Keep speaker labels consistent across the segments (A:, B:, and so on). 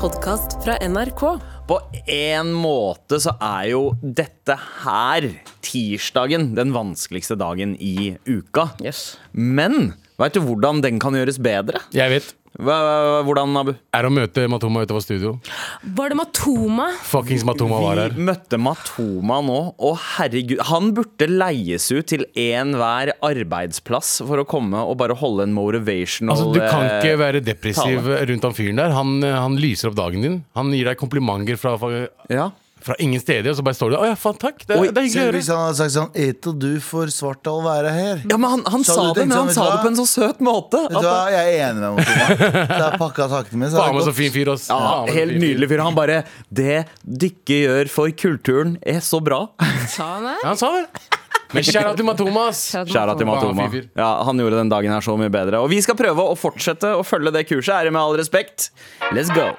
A: podkast fra NRK.
B: På en måte så er jo dette her tirsdagen den vanskeligste dagen i uka. Men veit du hvordan den kan gjøres bedre?
C: Jeg vet.
B: Hva- Hvordan, Abu?
C: Er å møte Matoma utover studio.
A: Var det Matoma?
C: Fuckings Matoma var her.
B: Vi møtte Matoma nå, og herregud Han burde leies ut til enhver arbeidsplass for å komme og bare holde en motivational
C: Altså, du kan ikke
B: eh,
C: være depressiv rundt han fyren der. Han, eh, han lyser opp dagen din. Han gir deg komplimenter fra, fra
B: ja.
C: ingen steder, og så bare står du der. Å ja, faen, takk. Det,
B: Oi,
C: det er hyggelig å
D: Selv
C: høre.
D: hvis han hadde sagt sånn Eto, du får Svartdal være her.
B: ja, men han, han
D: Så
B: sa
D: hadde du
B: det,
D: tenkt
B: men
D: sånn,
B: han
D: vet
B: sa
D: du
B: det
D: hva?
B: på en så søt måte.
D: Vet du hva, jeg er enig med Matoma. Det er pakka taktene mine. så
C: Faen
D: det
C: meg
D: er
C: så
D: godt.
C: fin fyr, ass.
B: Ja,
C: Faen meg så
B: helt
C: fin fyr.
B: nydelig fyr. Han bare Det dykket gjør for kulturen, er så bra.
A: Sa han det?
C: Ja, han sa det. Men kjære til Matoma, ass.
A: Shout out
B: Kjære til Matoma.
C: Bra fyr.
B: Ja, han gjorde den dagen her så mye bedre. Og vi skal prøve å fortsette å følge det kurset, ære med all respekt. Let's go.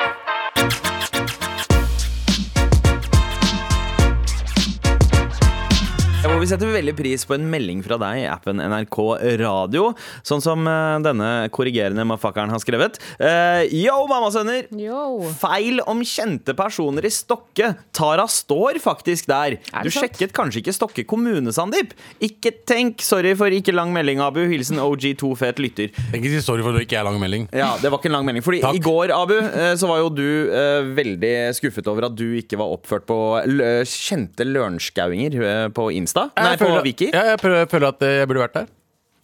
B: Hvor vi setter veldig pris på en melding fra deg i appen NRK Radio. Sånn som eh, denne korrigerende mafakkeren har skrevet. Eh, Yo, mammasønner!
A: Yo.
B: Feil om kjente personer i Stokke. Tara står faktisk der.
A: det
B: Du
A: sant?
B: sjekket kanskje ikke Stokke kommune, Sandeep. Ikke tenk. Sorry for ikke lang melding, Abu. Hilsen OG2 fet lytter.
C: Ikke si sorry for at det ikke er lang melding.
B: Ja, Det var ikke en lang melding. Fordi
C: Takk.
B: i går, Abu, eh, så var jo du eh, veldig skuffet over at du ikke var oppført på lø- kjente lørenskauinger eh, på Insta. Nei,
C: Jeg
B: på
C: føler-
B: Viki.
C: Ja, jeg, prøver, jeg føler at eh, jeg burde vært der.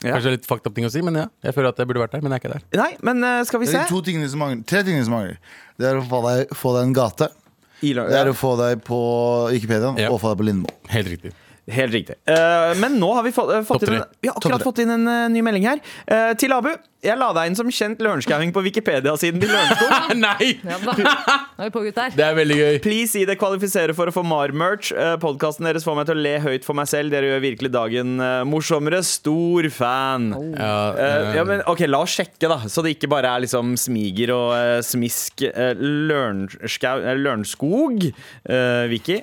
B: Ja.
C: Kanskje litt fucked up ting å si, men ja. Jeg føler at jeg burde vært der, men jeg er ikke der.
B: Nei, men eh, skal vi
D: Det
B: se.
D: er de to tingene som mangler. Tre tingene som mangler. Det er å få deg, få deg en gate.
B: I lø-
D: Det er å få deg på Wikipedia
C: Ja.
D: og få deg på Lindmo.
C: Helt riktig.
B: Helt riktig. Eh, men nå har vi fått, eh, fått,
C: Topp
B: inn,
C: tre.
B: en, vi har akkurat
D: Topp tre.
B: fått inn en eh, ny melding her. Eh, til Abu. Jeg la deg inn som kjent lørenskauing på Wikipedia-siden til Lørenskog.
C: Nei!
A: Ja da. Nå er vi på, gutter.
C: Det er veldig gøy.
B: Please gi det kvalifisere for å få MAR-merch. Uh, Podkasten deres får meg til å le høyt for meg selv. Dere gjør virkelig dagen eh, morsommere. Stor fan.
C: Ja,
B: Eh,
C: eh,
B: ja, men ok, La oss sjekke, da, så det ikke bare er liksom smiger og eh, smisk. eh, Lørenskau eh, Lørenskog, eh, Vicky.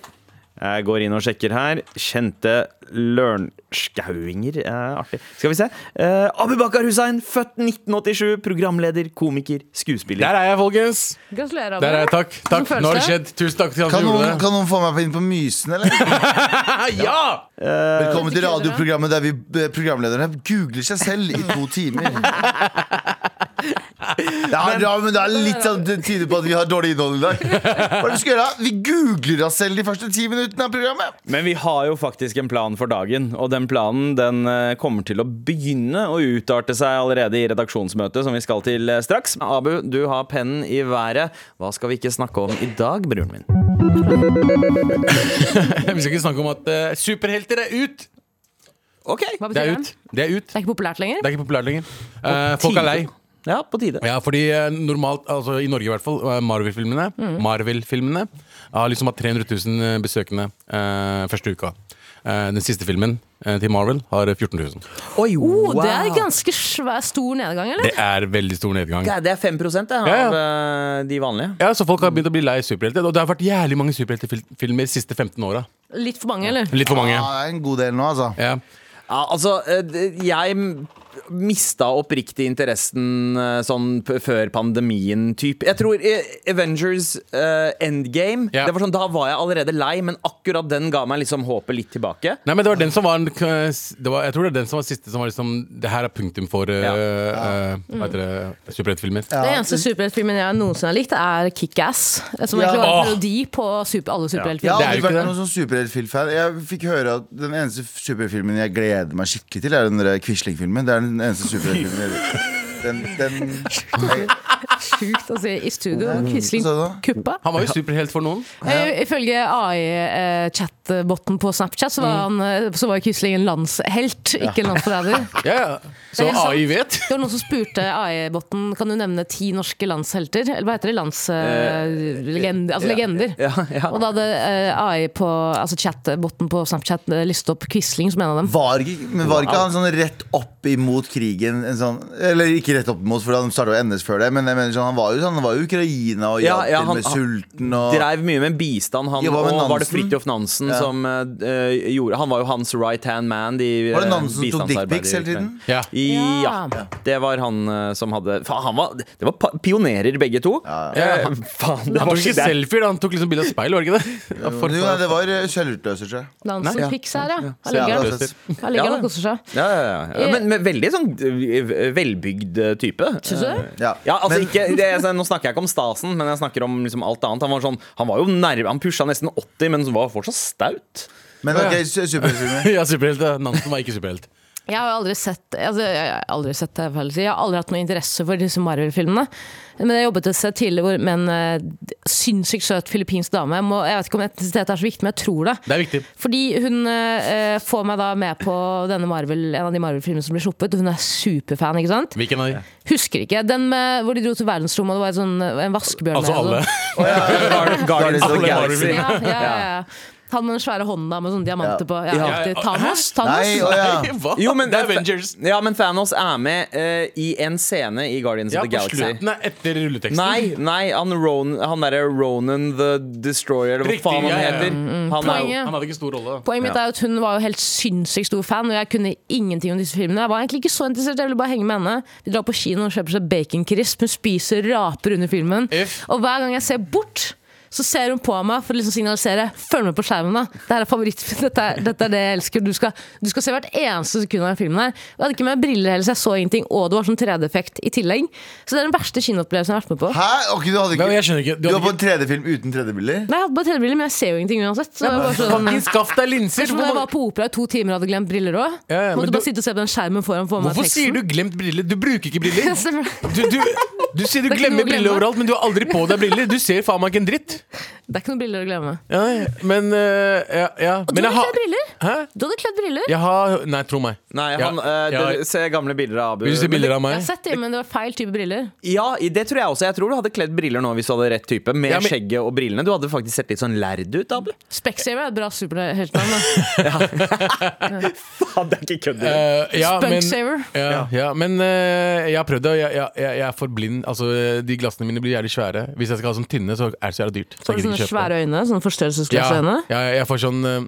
B: Jeg går inn og sjekker her. Kjente lørenskauinger. Eh, artig. Skal vi se. Eh, Abubakar Hussein, født 1987. Programleder, komiker, skuespiller.
C: Der er jeg, folkens.
A: Gratulerer, Abu.
C: Der er jeg, Takk. takk.
A: Hvordan
C: Nå har det
A: føles
C: skjedd. Tusen takk til han
D: Kan
C: som gjorde
D: noen,
C: det.
D: kan noen få meg inn på Mysen, eller?
C: ja!
D: Velkommen til
A: Ikke kødder, da.
D: radioprogrammet der vi eh, programlederne googler seg selv i to timer. Det er bra, men det er litt sånn det tyder på at vi har dårlig innhold i dag. Hva er det vi skal gjøre? Vi googler oss selv de første ti minuttene av programmet.
B: Men vi har jo faktisk en plan for dagen, og den planen den eh, kommer til å begynne å utarte seg allerede i redaksjonsmøtet, som vi skal til eh, straks. Abu, du har pennen i været. Hva skal vi ikke snakke om i dag, broren min?
C: Vi skal ikke snakke om at eh, superhelter er ut.
B: Ok,
A: Hva
C: Det
A: betyr
C: er
A: det?
C: ut. Det er ut.
A: Det er ikke populært lenger?
C: Det er ikke populært lenger. Eh, folk er lei.
B: Ja, på tide.
C: Ja, fordi eh, normalt, altså i Norge i hvert fall, eh, Marvel-filmene Marvel-filmene har liksom hatt 300 000 besøkende eh, første uka. Eh, den siste filmen eh, til Marvel har 14 000.
B: Oi,
A: Oh, det er
B: wow.
A: ganske svær, stor nedgang, eller?
C: Det er veldig stor nedgang.
B: Det er- Det er 5 det, av
C: Ja,
B: eh, de vanlige.
C: Ja, Så folk har begynt å bli lei superhelter. Og det har vært jævlig mange superheltefilmer de siste 15 åra.
A: Litt for mange, eller?
C: Litt for mange.
D: Ja, det er en god del nå, altså.
C: Ja.
B: Ja, altså, eh, det- jeg m- mista oppriktig interessen eh, sånn p før pandemien type. Jeg tror eh, Avengers eh, Endgame
C: Ja.
B: det var sånn, Da var jeg allerede lei, men akkurat den ga meg liksom håpet litt tilbake.
C: Nei, men det var den som var, en, det var Jeg tror det er den som var siste som var liksom Det her er punktum for eh,
B: Ja.
C: eh, Hva heter det? Superheltfilmer.
A: Det eneste superheltfilmen jeg noensinne har likt, er Kick-Ass. Som egentlig var
D: Ja.
C: Åh.
A: en parodi på super, alle
D: Jeg
A: superheltfilmer.
D: har
C: Det er jo
D: aldri
C: ikke
D: vært
C: det.
D: noen sånn superheltfilm-fan. Jeg fikk høre at Den eneste superheltfilmen jeg gleder meg skikkelig til, er den der Quisling-filmen. Det er den eneste superheltfilmen jeg den, den,
A: Sjukt å si i studio. Quisling
D: Hva sa
A: kuppa.
C: Han var jo superhelt for noen.
A: Eh, Ifølge AI-chatboten på Snapchat så var, han, eh, så var Quisling en landshelt, ikke en landsforræder.
C: Mm. Ja, ja. Så
A: Det er sant.
C: AI vet.
A: Det var noen som spurte AI-botten Kan du nevne ti norske landshelter. Eller hva heter det? Lands... eh, legende, altså legender.
B: Ja, ja.
A: Og da hadde eh, AI på altså chat-botten på Snapchat eh, listet opp Quisling som en av dem.
D: var, ikke, men var ikke han sånn rett opp imot krigen? En sånn, eller ikke rett opp imot, for han starta å endes før det. Men jeg mener eller sånn. Han var jo sånn, han var jo i Ukraina og
B: Ja,
D: hjalp
B: ja,
D: til
B: han-
D: med
B: han
D: sulten og
B: Dreiv mye med bistand, han.
D: Jobba med
B: og var det
D: Nansen.
B: Fridtjof Nansen
D: Ja.
B: som eh, gjorde Han var jo hans right hand man. De,
D: Var det
B: eh,
D: Nansen som tok dickpics hele
B: bistandsarbeidet i Ukraina.
D: tiden?
C: Ja.
B: Ja.
A: Ja.
B: Det var han eh, som hadde Faen, han var, det var pa- pionerer, begge to. Eh, faen, det
C: Han
B: var
C: tok
B: ikke
C: ikke
B: det.
C: selfier, han tok liksom bilde av speil, var det ikke det? Ja,
D: Jo,
C: for-
D: nei, det var eh, selvutløser, tror jeg.
A: Nansen
C: Nei, ja.
A: Pics her, ja. Her
D: Ja,
A: ligger
D: det var
A: han.
D: søtt.
A: Her ligger
B: Ja,
A: han og koser seg.
B: Ja, ja, ja.
A: Eh.
B: Men, men veldig sånn eh, velbygd eh, type.
A: Syns du?
D: ja.
B: Ja, altså
D: Men-
B: ikke, det, altså, Nå snakker jeg ikke om stasen, men jeg snakker om liksom alt annet. Han var sånn, han var jo nærme, han pusha nesten 80, men var fortsatt staut.
D: Men ok, su- superheltfilmer.
C: ja, superhelt. ja. Nansen var ikke superhelt.
A: Jeg har jo aldri sett, altså, jeg har aldri sett det, jeg får si. jeg har aldri hatt noe interesse for disse Marvel-filmene. Men jeg jobbet et sted tidligere hvor- med en eh, sinnssykt søt filippinsk dame. Jeg, må, jeg vet ikke om etnisitet er så viktig, men jeg tror det.
C: Det er viktig.
A: Fordi hun eh, får meg da med på denne Marvel, en av de Marvel-filmene som blir sluppet. Hun er superfan, ikke sant?
C: Hvilken av de?
A: Husker ikke. Den med, hvor de dro til verdensrommet, og det var et sånn, en vaskebjørn
C: Altså
A: med, og
C: alle.
A: sånn.
B: Guardians Guardians of the
C: Alle
B: Galaxy.
A: Ja, ja, ja, ja. Han med den svære hånda med sånne diamanter
D: Ja.
A: på. Ja,
B: Ja.
A: riktig. Thanos? Thanos?
D: Nei, å ja.
C: Hva?
B: Jo, men,
C: det er Avengers.
B: Ja, men Thanos er med eh, i en scene i Guardians
C: Ja,
B: of the
C: på
B: Galaxy.
C: slutten er etter rulleteksten.
B: Nei, nei han, Ron, han derre Ronan the Destroyer, eller hva
C: Riktig,
B: faen han
C: ja, ja, ja.
B: heter. Han er jo
A: Mm, Poenget
C: Han hadde ikke stor rolle. da.
A: Poenget mitt er jo at hun var jo helt sinnssykt stor fan, og jeg kunne ingenting om disse filmene. Jeg var egentlig ikke så interessert, jeg ville bare henge med henne. Vi drar på kino og kjøper seg baconcrisp, hun spiser raper under filmen.
C: Uff.
A: Og hver gang jeg ser bort, så ser hun på meg for å liksom signalisere Følg med på skjermen, da! Dette er favorittfilmen. Dette, er- dette er det jeg elsker. Du skal, du skal se hvert eneste sekund av den filmen her. Og Jeg hadde ikke med meg briller heller, så jeg så ingenting. Og det var sånn 3D-effekt i tillegg. Så det er den verste kinoopplevelsen jeg har vært med på.
D: Hæ? Ok, du hadde ikke
C: Men jeg skjønner ikke, du
D: Du var
C: hadde
D: på en 3D-film uten 3D-bilder?
A: Nei, jeg hadde bare 3D-briller, men jeg ser jo ingenting uansett. Så det var bare sånn
C: Fucking skaff deg linser!
A: Kanskje når jeg var på opera i to timer og hadde glemt briller òg.
C: Ja, ja, men
A: måtte
C: du-
A: bare sitte og se på den skjermen foran for meg
C: Hvorfor sier du 'glemt briller'? Du bruker ikke briller!
A: Stemmer.
C: Du, du, du sier du
A: Det er ikke noe
C: glemmer
A: å
C: briller
A: glemme.
C: overalt, men du har aldri på deg briller! Du ser faen meg ikke en dritt!
A: Det er ikke noen briller å glemme.
C: Ja, ja, men eh, ja, ja.
A: Og
C: men
A: du
C: jeg
A: hadde
C: har-
A: kledd briller!
C: Hæ?
A: Du hadde kledd briller.
C: Jeg har Nei, tro meg.
B: Nei,
C: Ja,
B: han, eh,
C: ja.
B: det- Se gamle bilder av Abu.
C: Vil du se
B: Men det-
C: bilder
A: Jeg
C: av meg?
A: har sett dem, men det var feil type briller.
B: Ja, i- det tror jeg også. Jeg tror du hadde kledd briller nå hvis du hadde rett type. Med
C: Ja, men-
B: skjegget og brillene. Du hadde faktisk sett litt sånn lærd ut, Abu.
A: Specshaver er et bra superheltnavn. da.
B: Faen, det er ikke kødd. engang.
C: Eh, ja, men,
A: Spunksaver.
C: ja, ja, men eh, jeg har prøvd det, og jeg, jeg, jeg jeg er for blind. Altså, de glassene mine blir jævlig svære. Hvis jeg skal ha sånn tynne, så er det så jævlig dyrt. Så
A: Får du
C: jeg gidder
A: sånne
C: ikke kjøpe det.
A: svære øyne? Sånne forstørrelsesglassøyne?
C: Ja, ja, jeg får sånn eh,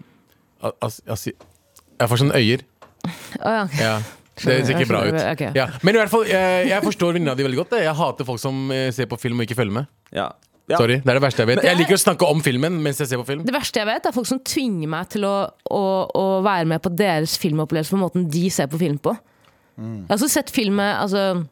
C: as, as, Jeg får sånn øyer.
A: Å, ja.
C: Ja. Det ser ikke bra ut.
A: skjønner, ok.
C: Ja. Men i hvert fall, jeg, jeg forstår venninna di veldig godt. Jeg. jeg hater folk som eh, ser på film og ikke følger med.
B: Ja. Ja.
C: Sorry, det er det verste jeg vet.
A: Men-
C: Jeg liker å snakke om filmen mens jeg ser på film.
A: Det verste jeg vet, er folk som tvinger meg til å, å, å være med på deres filmopplevelse på måten de ser på film på. Jeg har også sett film med altså,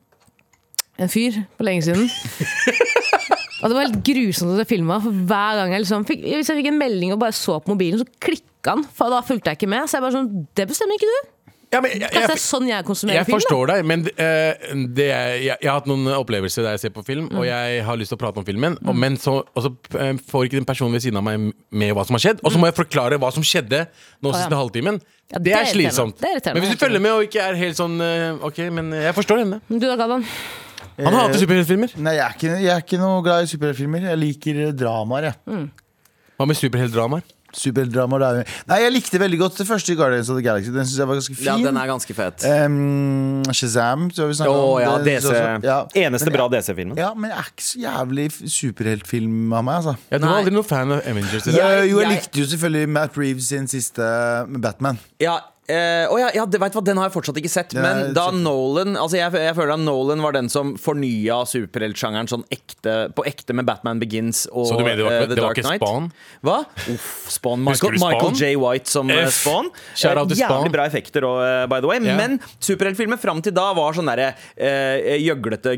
A: en fyr for lenge siden. og det var helt grusomt å se film av. For hver gang jeg liksom fikk, hvis jeg fikk en melding og bare så på mobilen, så klikka han. For da fulgte jeg ikke med. Så jeg bare sånn Det bestemmer ikke du!
C: Ja, men jeg,
A: Kanskje
C: jeg,
A: det er sånn jeg konsumerer
C: jeg
A: film? da?
C: forstår deg, men eh, det er, jeg, jeg har hatt noen opplevelser der jeg ser på film,
A: Mm.
C: og jeg har lyst til å prate om filmen, og, men så og så, eh, får ikke den personen ved siden av meg med hva som har skjedd. Og så må jeg forklare hva som skjedde nå
A: Mm. ja.
C: siste halvtimen.
A: Ja,
C: det
A: det er
C: er
A: irriterende.
C: slitsomt.
A: Det er irriterende.
C: Men hvis du følger med og ikke er helt sånn eh, Ok, men jeg forstår henne.
A: Men Du da, Galvan. Eh.
C: Han hater superheltfilmer.
D: Nei, jeg er ikke, jeg er ikke noe glad i superheltfilmer. Jeg liker eh, dramaer, jeg.
B: Mm.
C: Hva med superheltdramaer?
D: Superheltdramaer det er Nei, jeg likte veldig godt det første Guardians of the Galaxy. Den syns jeg var ganske fin.
B: ja, den er ganske fet.
C: Eh,
D: Em, Shazam, så har vi snakket
B: Å
D: om.
B: ja,
D: Det synes
B: DC.
D: jeg også- Ja.
B: Eneste
D: Men-
B: bra DC-filmen.
D: Ja, men jeg er ikke så jævlig f- superheltfilm av meg, altså. Eh,
C: Jeg tror
B: Nei.
C: aldri noen fan av Avengers. eller?
B: Jeg-
D: jo, jeg,
B: jeg-
D: likte jo selvfølgelig Matt Reeves sin siste med Batman.
B: Ja, eh, å ja, ja, det- vet du hva, Den har jeg fortsatt ikke sett.
D: Den
B: Men
D: er
B: da
D: kjempe-
B: Nolan altså jeg, jeg føler at Nolan var den som fornya superheltsjangeren sånn ekte, på ekte med Batman Begins og
C: Så du mener det var
B: eh,
C: ikke-
B: The
C: det var
B: Dark
C: ikke
B: Knight.
C: Spawn?
B: Hva? Uff, Spawn. Michael,
C: Husker du Spawn?
B: Michael J. White som eh,
C: F.
B: Spawn.
C: Shout out
B: Eh,
C: til Spawn.
B: Jævlig bra effekter òg, eh, by the way.
C: Ja.
B: Men superheltfilmer fram til da var sånne derre eh, gjøglete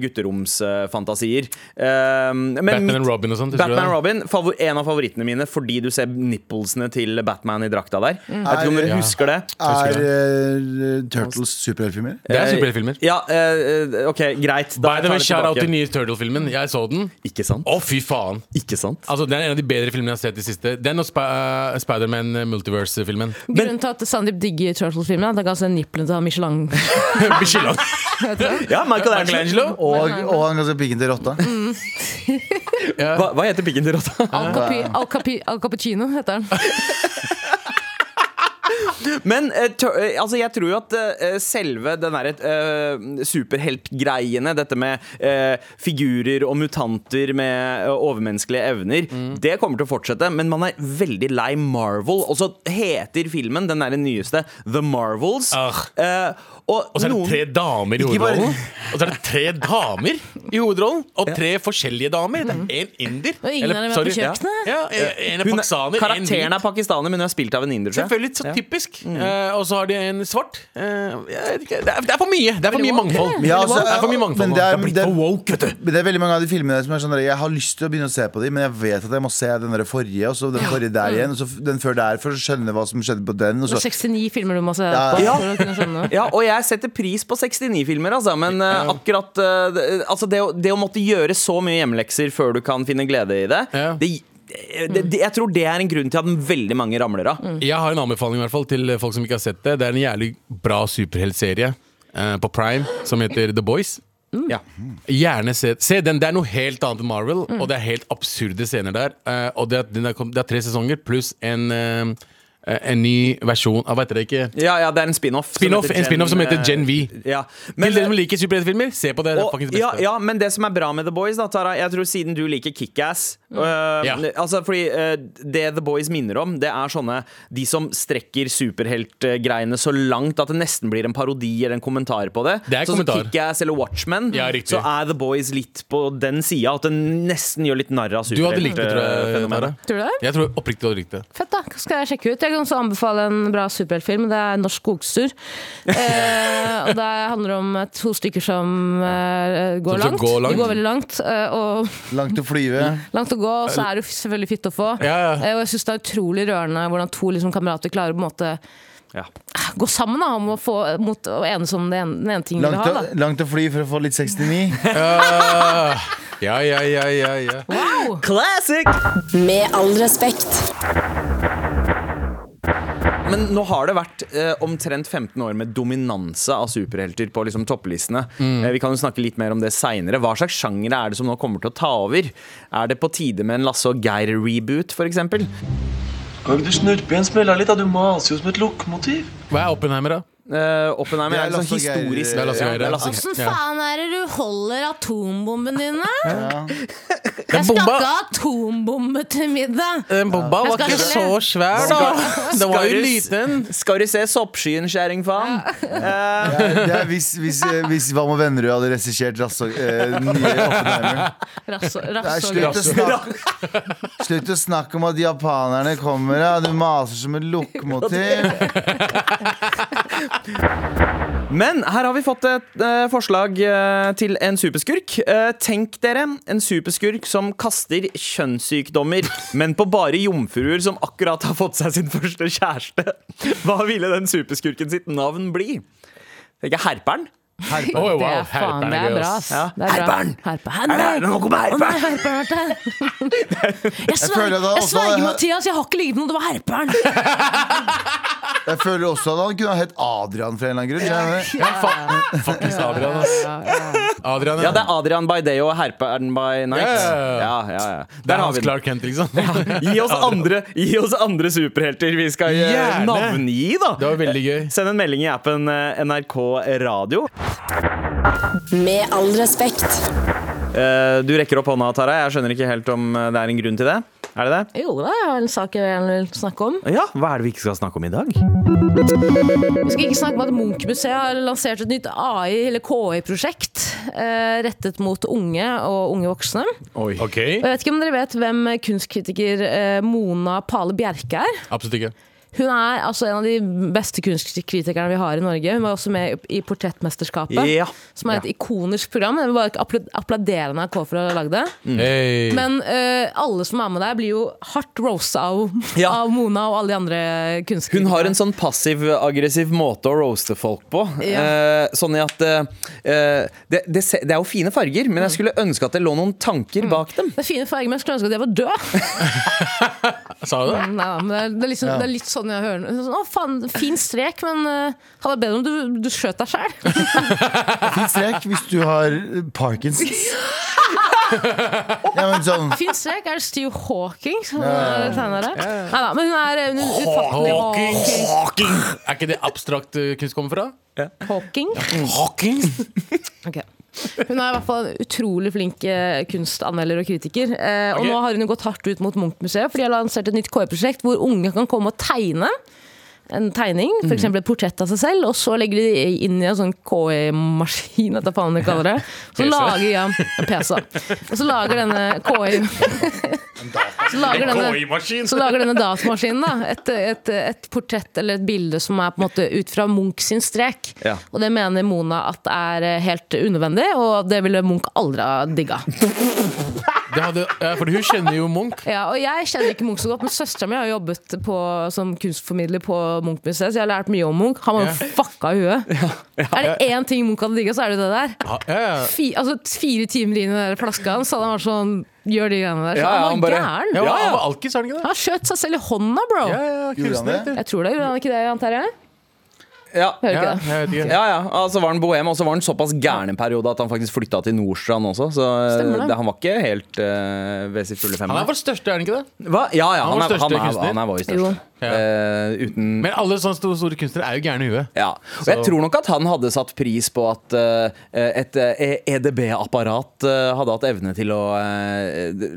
B: gutteromsfantasier. Eh, men
C: Batman
B: mitt-
C: and Robin og sånt. husker du
B: Batman
C: det?
B: Robin, favor- en av favorittene mine fordi du ser nipplesene til Batman i drakta der. Jeg vet ikke om dere
D: Ja.
B: husker det.
D: Er
C: husker
D: eh, Turtles superheltfilmer?
C: Det er superheltfilmer.
B: Ja, eh, eh, ok, greit. Da
C: By
B: tar
C: the way,
B: jeg
C: shout out til
B: tilbake.
C: nye Turtle-filmen. Jeg så den.
B: Ikke sant?
C: Å, fy faen.
B: Ikke sant?
C: Altså, Det er en av de bedre filmene jeg har sett i siste. Den og Sp uh, Spiderman eh, Multiverse-filmen.
A: Grunnen til at Sandeep digger Turtles-filmen, er at han kan se nipplene til han Michelin.
C: Beskylder han.
B: Ja, Michael
C: Michelangelo?
B: Angelo.
D: Og, og han ganske pikken til rotta.
B: Hva, hva heter pikken
C: Ah.
B: til rotta?
A: Al, Capi, Al, Capi, Al Cappuccino heter han.
B: Men eh, tør- eh, altså, jeg tror jo at eh, selve den derre eh, superheltgreiene, dette med eh, figurer og mutanter med eh, overmenneskelige evner,
C: Mm.
B: det kommer til å fortsette. Men man er veldig lei Marvel. Og så heter filmen, den er den nyeste, The Marvels.
C: Ah.
B: Eh, og,
C: Og så er det
B: noen
C: tre damer i
D: Ikke bare-
C: hovedrollen. Og så er det tre damer i hovedrollen Og tre forskjellige damer. Det er én inder.
A: Og ingen av dem er på kjøkkenet.
C: Ja, ja, en er
B: hun,
C: pakistaner, en
B: Karakteren
C: hvit.
B: er pakistaner, men hun er spilt av en inder. tror jeg.
C: Selvfølgelig så typisk.
D: Mm.
C: Eh, og så har de en svart. Eh, jeg vet ikke, det, er, det er for mye! Det er for mye
A: woke,
C: mangfold.
A: eller?
D: Ja,
C: det
D: altså,
C: er for mye mangfold
D: men
C: nå.
D: det
C: Det
D: er-
C: er blitt
D: det-
C: for woke, vet du.
D: Men det er veldig mange av de filmene som er sånn der, Jeg har lyst til å begynne å se på dem, men jeg vet at jeg må se den der forrige, og så den forrige der igjen, og så den før der, for å skjønne hva som skjedde på den. Og
A: Mm. Det
D: så.
A: er 69 Altså, filmer du må se
D: Ja.
A: på.
B: Ja.
A: For å kunne skjønne.
B: Ja, og jeg setter pris på 69-filmer, altså, men eh, akkurat eh, det- altså, det, å, det å måtte gjøre så mye hjemmelekser før du kan finne glede i det,
C: Ja.
B: det, eh, det, det Jeg tror det er en grunn til at veldig mange ramler av.
C: Jeg har en anbefaling i hvert fall til folk som ikke har sett det. Det er en jævlig bra superheltserie eh, på Prime som heter The Boys.
B: Ja.
C: Gjerne se, se den. Det er noe helt annet enn Marvel,
D: Mm.
C: og det er helt absurde scener der. Eh, og det, er- den er, kom- det er tre sesonger pluss en, eh, en ny versjon av Hva heter det ikke?
B: Ja, ja, det er en spin-off. som
C: Spin-off,
B: heter
C: en spin-off som heter
B: eh,
C: Gen V.
B: Ja.
C: til dere som liker superheltfilmer, se på det. det er
B: og,
C: fucking det
B: ja,
C: beste.
B: ja, men det som er bra med The Boys, da, Tara Jeg tror siden du liker Kickass øh,
C: Ja.
B: altså, Fordi øh, det The Boys minner om, det er sånne De som strekker superheltgreiene så langt at det nesten blir en parodi eller en kommentar på det.
C: Det er
B: sånn som
C: kommentar.
B: Kickass eller Watchmen,
C: Ja, riktig.
B: så er The Boys litt på den sida. At det nesten gjør litt narr av
C: Du hadde likt det, tror jeg.
B: superheltfenomenet.
C: Tara.
A: Tror du det?
C: Jeg tror oppriktig du hadde likt det.
A: Fett, da. Skal jeg sjekke ut. Jeg kan også anbefale en bra superheltfilm. Det er 'Norsk skogstur'. Eh, og det handler om eh, to stykker som eh, går,
C: Som
A: langt.
C: skal gå langt.
A: De går veldig langt. eh, og
D: Langt å flyve.
A: langt å gå, og så er det jo selvfølgelig fitte å få.
C: Ja, ja.
A: Eh, og jeg syns det er utrolig rørende hvordan to liksom, kamerater klarer å på en måte eh,
B: Ja.
A: gå sammen da, om å få eh, mot å enes om det ene, den ene tingen de
D: Langt
A: vil
D: å,
A: ha. Da.
D: langt å fly for å få litt 69.
C: Eh, Ja, ja, ja, ja, ja.
A: Wow!
B: Classic!
E: Med all respekt.
B: Men nå har det vært eh, omtrent 15 år med dominanse av superhelter på liksom, topplistene. Eh, vi kan jo snakke litt mer om det seinere. Hva slags sjangere er det som nå kommer til å ta over? Er det på tide med en Lasse og Geir-reboot, f.eks.?
F: Kan ikke du snurpe igjen smella litt? da? Du maser jo som et lokomotiv.
C: Hva er Oppenheimer, da?
B: Uh, Oppenheimer er,
D: Det er
B: liksom
D: Lasse og Geir- eh,
B: historisk.
D: Det er
C: Lasse
B: Ja,
C: og Geir,
B: det
C: ja.
B: er Lasse og Geir.
A: Åssen faen er det du holder atombomben din, da?
C: Den
A: Jeg skal
C: bomba,
A: ikke ha atombombe til middag!
C: den bomba var
A: Jeg
C: ikke
A: skal
C: så
A: ikke
C: svær, da. Den
B: Skal
C: var jo
B: du-
C: liten.
B: Skal du se soppskyen, kjerringfaen? Eh,
D: Det er hvis, hvis, eh, hvis Hva med Vennerud hadde regissert Rasso- eh, nye Oppenheimer.
A: Rass,
D: Det er
A: rass og
D: slutt å
A: gress.
D: snakke Slutt å snakke om at japanerne kommer. Ja. Du maser som et lokomotiv.
B: Men her har vi fått et eh, forslag eh, til en superskurk. Eh, tenk dere en superskurk som kaster kjønnssykdommer, men på bare jomfruer som akkurat har fått seg sin første kjæreste. Hva ville den superskurken sitt navn bli? Tenker jeg Herperen?
C: Oi, wow,
A: Det er faen,
C: herperen
A: det
C: gøy,
A: er bra,
C: ass.
A: ass.
B: Ja.
A: Det er bra.
B: Herperen!
A: Herpe.
B: Er det
A: Herpe.
B: noe med
A: Å nei,
B: Herperen?
A: herperen har vært der! Jeg
D: føler
A: sverger,
D: det
A: jeg
D: også-
A: sverger Mathias, jeg har ikke ligget med noen, det var herperen!
D: Jeg føler også at han kunne ha hett Adrian for en eller annen grunn. skjønner du?
C: Ja, fa faktisk Adrian, ass. Adrian,
B: Ja, det er Adrian by day og Herperen by night.
C: Ja, ja, ja.
B: Ja, ja, ja.
C: Det er
B: Der har
C: hans
B: vi den.
C: Clark Kent, liksom. Det
B: Gi oss andre, gi oss andre superhelter vi skal eh,
C: Gjerne.
B: navngi, da.
C: var veldig gøy.
B: Send en melding i appen eh, NRK Radio.
E: Med all respekt.
B: Eh, Du rekker opp hånda, Tara. Jeg skjønner ikke helt om eh, det er en grunn til det. Er det det?
A: Jo da, jeg har en sak jeg gjerne vil snakke om.
B: Ja, Hva er det vi ikke skal snakke om i dag?
A: Vi skal ikke snakke om at Munch-museet har lansert et nytt AI- eller KI-prosjekt eh, rettet mot unge og unge voksne.
C: Ok,
A: Og jeg vet ikke om dere vet hvem kunstkritiker eh, Mona Pale Bjerke er?
C: Absolutt ikke.
A: Hun er altså en av de beste kunstkritikerne vi har i Norge. Hun var også med i Portrettmesterskapet,
B: Ja.
A: som er et ikonisk program. Jeg vil bare appla- applaudere NRK for å ha lagd det.
B: Mm.
C: Hey.
A: Men eh, alle som er med der, blir jo hardt roasta av,
B: Ja.
A: av Mona og alle de andre kunstkritikerne.
B: Hun har en sånn passiv-aggressiv måte å roaste folk på.
A: Ja.
B: Eh, sånn i at eh, eh, det, det, se- det er jo fine farger, men jeg skulle ønske at det lå noen
A: Mm.
B: tanker bak dem.
A: Det er fine farger, men jeg skulle ønske at jeg var død.
C: Sa du det?
A: Nei, men det, er, det, er liksom, det er litt sånn jeg hører den. sånn, Å, faen, fin strek, men uh, hadde vært bedre om du, du skjøt deg sjæl.
D: Fin strek hvis du har eh, Parkinsons. Ja, men sånn
A: Fint strek. Er det Steve Hawking som eh, tegner det? Nei da, men hun er en ufattelig
C: Hawking.
A: Hawking.
C: Hawking. Er ikke det abstrakt eh, kunst kommer fra?
A: Hawking.
C: Hawking?
A: Ok. Hun er i hvert fall en utrolig flink eh, kunstanmelder og kritiker. Eh, Og
C: Ok.
A: nå har hun jo gått hardt ut mot Munch-museet, for de har lansert et nytt KI-prosjekt hvor unge kan komme og tegne en tegning,
C: Mm.
A: f.eks. et portrett av seg selv, og så legger de inn i en sånn KI-maskin, etter faen de kaller det. Så
C: PC.
A: lager ja, en PC. Og så lager denne KI Så lager denne
C: KI-maskin.
A: så lager denne datamaskinen da, et, et, et portrett eller et bilde som er på en måte ut fra Munch sin strek.
B: Ja.
A: Og det mener Mona at er eh, helt unødvendig, og det ville Munch aldri ha digga.
C: Det hadde, eh, for hun kjenner jo Munch.
A: Ja, og jeg kjenner ikke Munch så godt, men søstera mi har jobbet på, som kunstformidler på Munch-museet, så jeg har lært mye om Munch. Han var jo
C: Ja.
A: fucka i huet. Er det én ting Munch hadde digga, så er det det der.
C: Ah, Ja, ja, ja.
A: Fi, altså, fire timer inn i den der flaska hans, hadde han vært sånn Gjør de greiene der. Så han var gæren.
C: Ja, han var alkis, er han ikke det?
A: Han skjøt seg selv i hånda, bro.
C: Ja, ja,
D: Gjorde han
C: kunstner.
D: det?
A: Jeg tror det, gjorde han ikke det, Jan Terje?
B: Ja.
A: Hører
C: Ja,
A: ikke det.
C: jeg vet ikke.
B: Ja, ja. Altså var han bohem, og så var han såpass gæren en periode at han faktisk flytta til Nordstrand også. Så eh,
A: Stemmer det.
B: det, han var ikke helt eh, ved sitt fulle fem.
C: Han er vår største, er han ikke det?
B: Hva? Ja, ja,
C: Han
B: han, er,
C: var
B: han,
C: største
B: er,
C: kunstner.
B: han er vår største.
A: Jo.
C: Ja.
B: Eh, uten
C: Men alle sånne store, store kunstnere er jo gærne i huet.
B: ja. Og jeg
C: Så-
B: tror nok at han hadde satt pris på at eh, et eh, EDB-apparat eh, hadde hatt evne til å eh,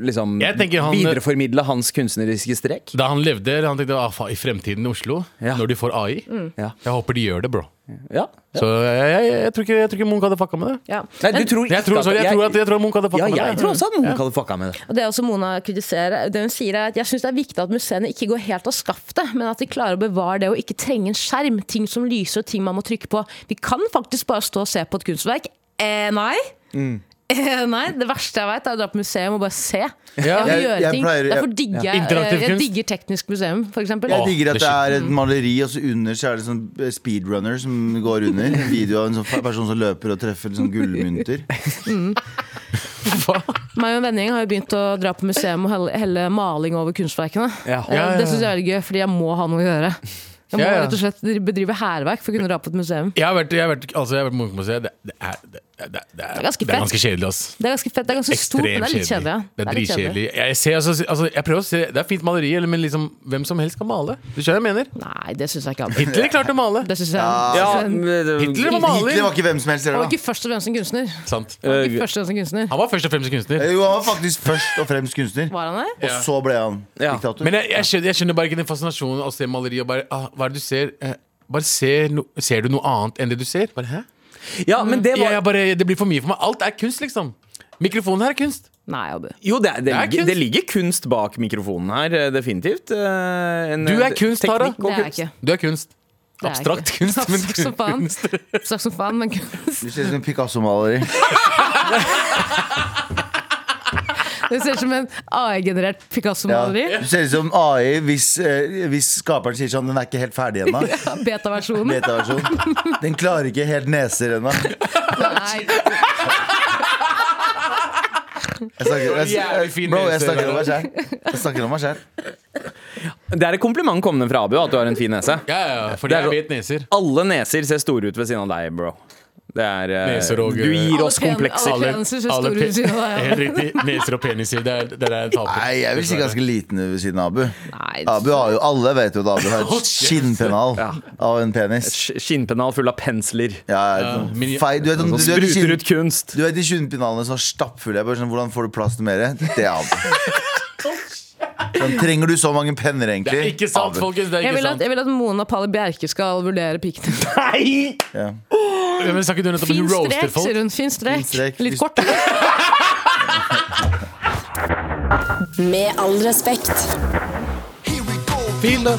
B: liksom
C: Jeg tenker han-
B: videreformidle hans kunstneriske strek.
C: Da han levde, han tenkte ah, faen, i fremtiden i Oslo,
B: Ja.
C: når de får AI
A: Mm.
B: Ja.
C: Jeg håper de gjør det, bro.
B: Ja. ja.
C: Så jeg, jeg, jeg, tror ikke, jeg tror ikke Munch hadde fucka med det.
A: Ja.
B: Nei, du
A: Men-
B: tror ikke
C: Jeg tror, sorry, jeg, tror at, jeg tror Munch hadde fucka
B: Ja,
C: med det.
B: jeg tror også at Munch hadde fucka med det.
A: Og det er også Mona kritiserer. Det hun sier er at jeg syns det er viktig at museene ikke går helt av skaftet, men at de klarer å bevare det å ikke trenge en skjerm, ting som lyser og ting man må trykke på. Vi kan faktisk bare stå og se på et kunstverk. Eh, nei.
D: Mm.
A: Eh, nei, Det verste jeg veit, er å dra på museum og bare se. Jeg, må
D: Jeg-
A: gjøre
D: jeg
A: ting.
D: pleier-
A: Derfor digger jeg,
C: Interaktiv
A: jeg, jeg
C: kunst.
A: digger teknisk museum, f.eks.
D: Jeg digger at
C: det
D: det er et maleri, og så under så er det sånn speedrunner som går under. En video av en sånn person som løper og treffer sånn gullmynter.
A: Meg og en venning har jo begynt å dra på museum og helle, helle maling over kunstverkene.
B: Ja.
A: Eh,
C: Ja, ja, ja.
A: Det syns jeg er veldig gøy, fordi jeg må ha noe å gjøre. Jeg må
C: Ja, ja.
A: rett og slett bedrive hærverk for å kunne dra på et museum.
C: Jeg har vært, jeg har vært, altså, jeg har vært på Munch-museet. Det, det, er- det, det, det, det, er-
A: ganske
C: det
A: fett.
C: er ganske kjedelig, ass.
A: Det er ganske fett, det er ganske stort, men det er litt kjedelig. ja.
C: Det er
A: litt
C: dritkjedelig. Jeg, ser, altså, altså, jeg prøver å se Det er fint maleri, eller- men liksom, hvem som helst kan male. Du skjønner hva jeg mener?
A: kjedelig. Nei, det syns jeg ikke. han-
C: Hitler klarte å male.
A: Det syns jeg han-
B: Ja,
A: synes jeg-
C: Hitler var
D: Hitler var
C: maler.
D: ikke hvem som helst.
A: Han var
D: Eller, da.
A: ikke først og fremst en kunstner. Han
C: Sant.
A: var
B: Eh,
A: ikke først og fremst en kunstner.
C: Han var først og fremst kunstner.
D: Jo, han var faktisk først og fremst kunstner.
A: Var han det?
D: Og så ble han
B: Ja.
D: diktator.
C: Men jeg, jeg, skjønner, jeg skjønner bare ikke den fascinasjonen av å se maleri og bare ah, Hva er det du ser? Eh, Bare ser, no, ser du noe annet enn det du ser? Bare, hæ?
B: Ja, men det
C: Jeg,
B: var
C: jeg bare, det blir for mye for meg. Alt er kunst, liksom. Mikrofonen her er kunst.
A: Nei, Abu.
B: Jo, det, er- det,
C: er
B: ligger,
C: kunst.
B: det ligger kunst bak mikrofonen her, eh, definitivt. Eh, en-
C: Du er kunst,
B: teknikk
C: Tara.
B: og
A: Det er jeg
B: kunst.
A: ikke.
C: Du er kunst.
A: er
C: Abstrakt
A: ikke.
C: kunst, men
A: Abstrakt som faen.
C: kunst.
A: Straks som faen, men kunst.
D: Du ser ut som en Picasso-maleri.
A: Det ser ut som en AI-generert Picasso-maleri.
D: Ja. Du ser ut som AI hvis, eh, hvis skaperen sier sånn Den er ikke helt ferdig ennå.
A: Beta-versjonen.
D: Beta-versjon. Den klarer ikke helt neser ennå.
A: Nei.
D: Jeg snakker, jeg,
C: Jævlig fin
D: bro, jeg
C: nese,
D: snakker om
C: da.
D: meg sjæl. Jeg snakker om meg selv.
B: Det er et kompliment kommende fra Abu at du har en fin nese.
C: Ja, ja, ja, fordi
B: Det er
C: jeg
B: så-
C: vet neser.
B: Alle neser ser store ut ved siden av deg, bro. Det er, eh,
C: Neser og,
B: du
C: eh,
B: gir oss
A: Alle pen-
B: komplekser.
A: alle peniser ser
C: Alle
A: store
C: pe-
A: ut siden av deg.
C: Helt riktig. Neser og peniser. Det er, det er en taper.
D: Nei, jeg vil si ganske liten ved siden av Abu.
A: Nei,
D: Abu har jo, Alle vet jo at Abu har
C: Å,
D: et
C: shit.
D: skinnpennal
B: Ja.
D: av en penis.
B: Sk- Skinnpennal full av pensler.
D: Ja, sånn
C: men-
D: fei, du vet, om-
B: Som
D: du vet de
B: spruter
D: skinn-
B: ut kunst.
D: du vet de skinnpennalene som var stappfulle? Jeg bare sånn, Hvordan får du plass til mer? Det er Abu. Sånn, trenger du så mange penner, egentlig?
C: Det er ikke sant,
D: Abu.
C: folkens. Det
A: Jeg
C: er ikke
A: vil, at,
C: sant.
A: jeg vil at Mona Palle Bjerke skal vurdere pikken din.
B: Nei!
C: Ja, Men snakker du nettopp om
A: Fin
C: hun roaster
A: strek, sier
C: folk?
A: hun. Fin
D: Fin strek.
A: strek. Litt
D: Hvis-
A: kort.
E: Med all respekt.
C: Fin, da.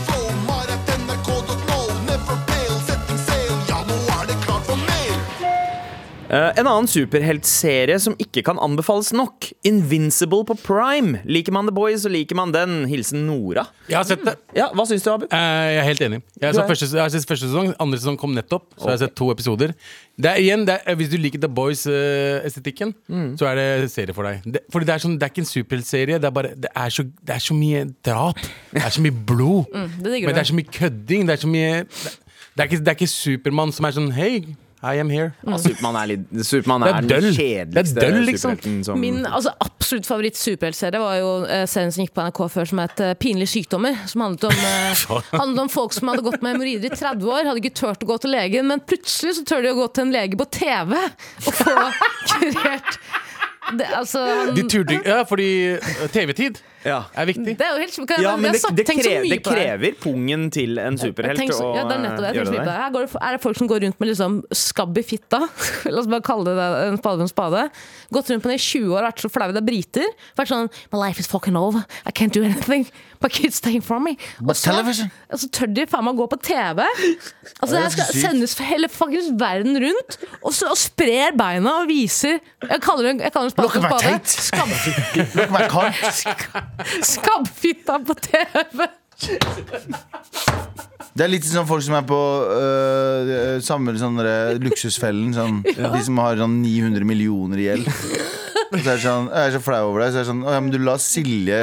B: Eh, En annen superheltserie som ikke kan anbefales nok. Invincible på Prime. Liker man The Boys, så liker man den. Hilsen Nora.
C: Jeg har sett det.
B: Ja, Hva syns du, Abu?
C: Eh, Jeg er helt enig. Jeg har,
B: Du
C: sett
B: er-
C: første, jeg har sett første sesong, andre sesong kom nettopp. Så jeg har sett to episoder. Det er igjen, det er, Hvis du liker The Boys-estetikken,
A: Mm.
C: så er det serie for deg. Det, fordi det er, sånn, det er ikke en superheltserie. Det, er bare- det, er så- det er så mye drap. Det er så mye blod.
A: Mm, det digger du.
C: men det er så mye kødding. Det er så mye Det, det, er, ikke, det er ikke Supermann som er sånn Hei, I am here.
B: Ja, Supermann er, litt, Superman
C: Det er
B: er,
C: døll.
B: den
C: Det er
B: kjedeligste
C: døll, liksom.
B: superhelten som
A: Min altså, absolutt favoritt superheltserie var jo eh, serien som gikk på NRK før som het eh, Pinlige sykdommer. Som handlet om, eh, handlet om folk som hadde gått med hemoroider i 30 år, hadde ikke turt å gå til legen, men plutselig så tør de å gå til en lege på TV og få kurert det, altså, han,
C: De turte ikke Ja, fordi eh, TV-tid
B: Ja.
C: er viktig.
A: det er jo helt sjukt.
B: Ja,
A: Jeg
B: men
A: har
B: det,
A: satt-
B: det,
A: tenkt så
B: krever,
A: mye
B: det
A: på det.
B: krever pungen til en superhelt
A: Tenk så,
B: å
A: ja, det er nettopp det.
B: eh,
A: Jeg tenker så
B: gjøre
A: mye på
B: det.
A: det. Her går det, er det folk som går rundt med liksom skabb i fitta? La oss bare kalle det det, en spade for en spade. Gått rundt med det i 20 år og vært så flaue. Det er briter. Vært sånn My life is fucking over. I can't do anything. My kids taking from me. Og
D: But
A: så,
D: television.
A: og så tør de faen meg gå på TV. Altså,
D: Det er
A: jeg skal
D: sykt.
A: sendes hele fuckings verden rundt og, så, og sprer beina og viser Jeg kaller det jeg kaller det en spade
D: Look at my
A: for en
D: tate.
A: spade. Skabb,
D: Look at my cock.
A: skabbfitta på TV.
D: Det er litt sånn folk som er på øh, samme sånn derre luksusfellen. Sånn, De som har sånn 900 millioner i gjeld. Og så er det sånn, jeg er så flau over deg. Så er det sånn, å, ja, men du la Silje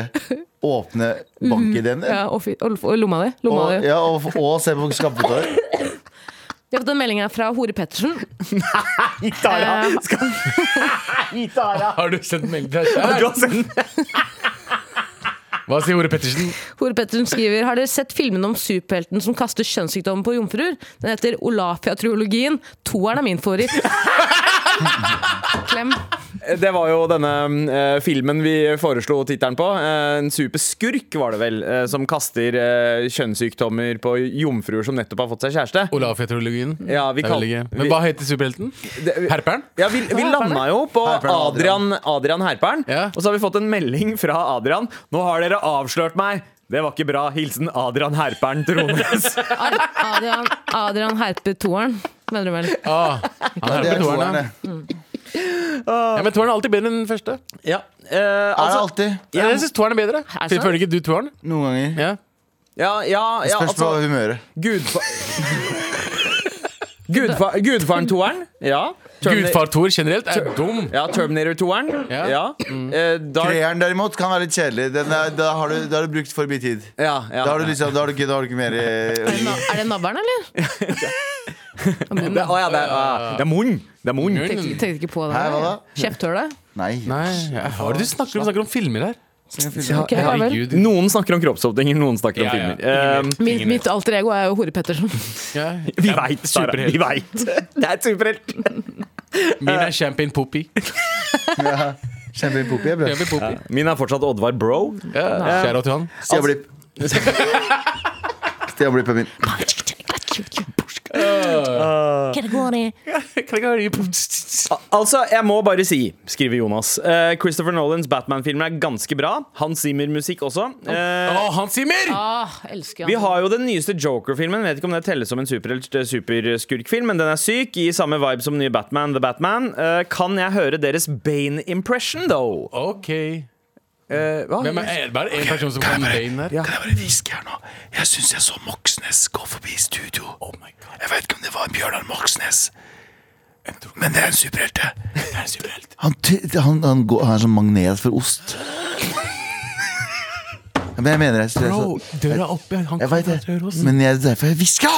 D: åpne bankideen din.
A: Ja, og, fi- og, og lomma di. Lomma
D: Og,
A: di.
D: ja, og, og se på skabbetår.
A: Jeg har fått en melding her fra Hore Pettersen. Eh,
C: Har du sendt melding til deg selv? Hva sier Ore Pettersen?
A: Hore Pettersen skriver Har dere sett filmen om superhelten som kaster kjønnssykdommen på jomfruer? Den heter Olafia-triologien. Toeren er min favoritt. Klem.
B: Det var jo denne eh, filmen vi foreslo tittelen på. Eh, en superskurk, var det vel, eh, som kaster eh, kjønnssykdommer på jomfruer som nettopp har fått seg kjæreste.
C: Olaf-teologien.
B: Ja, vi
C: Det er
B: kall-
C: veldig gøy.
B: vi-
C: Men hva heter superhelten?
B: Det-
C: Herperen? Ah,
B: Ja, vi, vi landa jo på
D: Herperen og Adrian.
B: Adrian, Adrian Herperen,
C: Ja.
B: og så har vi fått en melding fra Adrian. Nå har dere avslørt meg! Det var ikke bra. Hilsen Adrian Herperen Trones.
A: Ad- Adrian, Adrian Herpe toeren, mener du vel?
C: Ah, han
D: Ja,
C: er på
D: det er
C: toeren, ja.
D: toerne.
C: ja. Men toeren er alltid bedre enn den første.
B: ja, eh,
D: Er det
B: altså,
D: alltid?
C: Jeg syns toeren er bedre.
A: Er det sant?
C: Føler ikke du toeren?
D: Noen ganger.
C: Ja.
B: ja, ja, ja,
D: Spørs på
B: altså
D: humøret.
B: Gudfa Gudfa Gudfaren toeren. Ja. Termina-
C: Gudfar Tor generelt er dum.
B: Ja, Terminator toeren.
C: Ja.
B: Ja. Ja. Eh, Dark,
D: Treeren derimot kan være litt kjedelig. Den er, da, har du, da har du brukt for mye tid.
B: ja, ja.
D: Da har du liksom, da har du ikke, da har du ikke mer eh, å
A: Er det
D: gi.
A: na- Er det navlen, eller?
B: det, å, ja, det, er- ah, det er munn! Det er munn.
A: Tenkte, tenkte ikke på det.
D: Hæ, hva da?
A: Kjefthølet?
D: Nei.
C: Nei, hva er det du snakker om? Du snakker om filmer her.
A: Ok, ja vel.
C: Herregud.
B: Noen snakker om kroppsåpninger, noen snakker om
C: Ja, ja.
B: filmer. Eh,
A: Mitt, mitt alter ego er jo Hore Pettersen.
C: Ja.
B: vi veit, Sara. Vi veit. Det er et superhelt.
C: Min er Champagne Poppy.
D: Kjempepopi er bra.
C: Champagne Poppy.
B: Min er fortsatt Oddvar Bro.
C: Ja. Kjære til han.
D: Stian Blipp. Stian Blipp er min.
B: Al- Altså, jeg må bare si, skriver Jonas, eh, Christopher Nolans Batman-filmer er ganske bra. Hans Zimmer-musikk også. Eh,
C: Å, Hans Zimmer!
A: Ah, elsker
B: Vi
A: han.
B: har jo den nyeste Joker-filmen. Vet ikke om det telles som en superhelt- superskurkfilm, men den er syk. I samme vibe som nye Batman, The Batman. Eh, kan jeg høre deres Bane-impression, though?
C: Ok.
B: Eh, hva?
C: Hvem er, er det bare én person som kan Bane her?
G: Kan jeg bare hviske her nå? Jeg syns jeg så Moxnes gå forbi studio.
C: Oh
G: Jeg vet ikke om det var Bjørnar Moxnes, men det er en superhelt, det. Det er en superhelt.
D: Han, ty- han, han, går, han er som magnet for ost. Ja, Men jeg mener det. så-
C: Bro, døra er oppe. Han
D: jeg
C: kan
D: vet
C: ikke høre
D: det,
C: oss.
D: men jeg, derfor jeg hviska!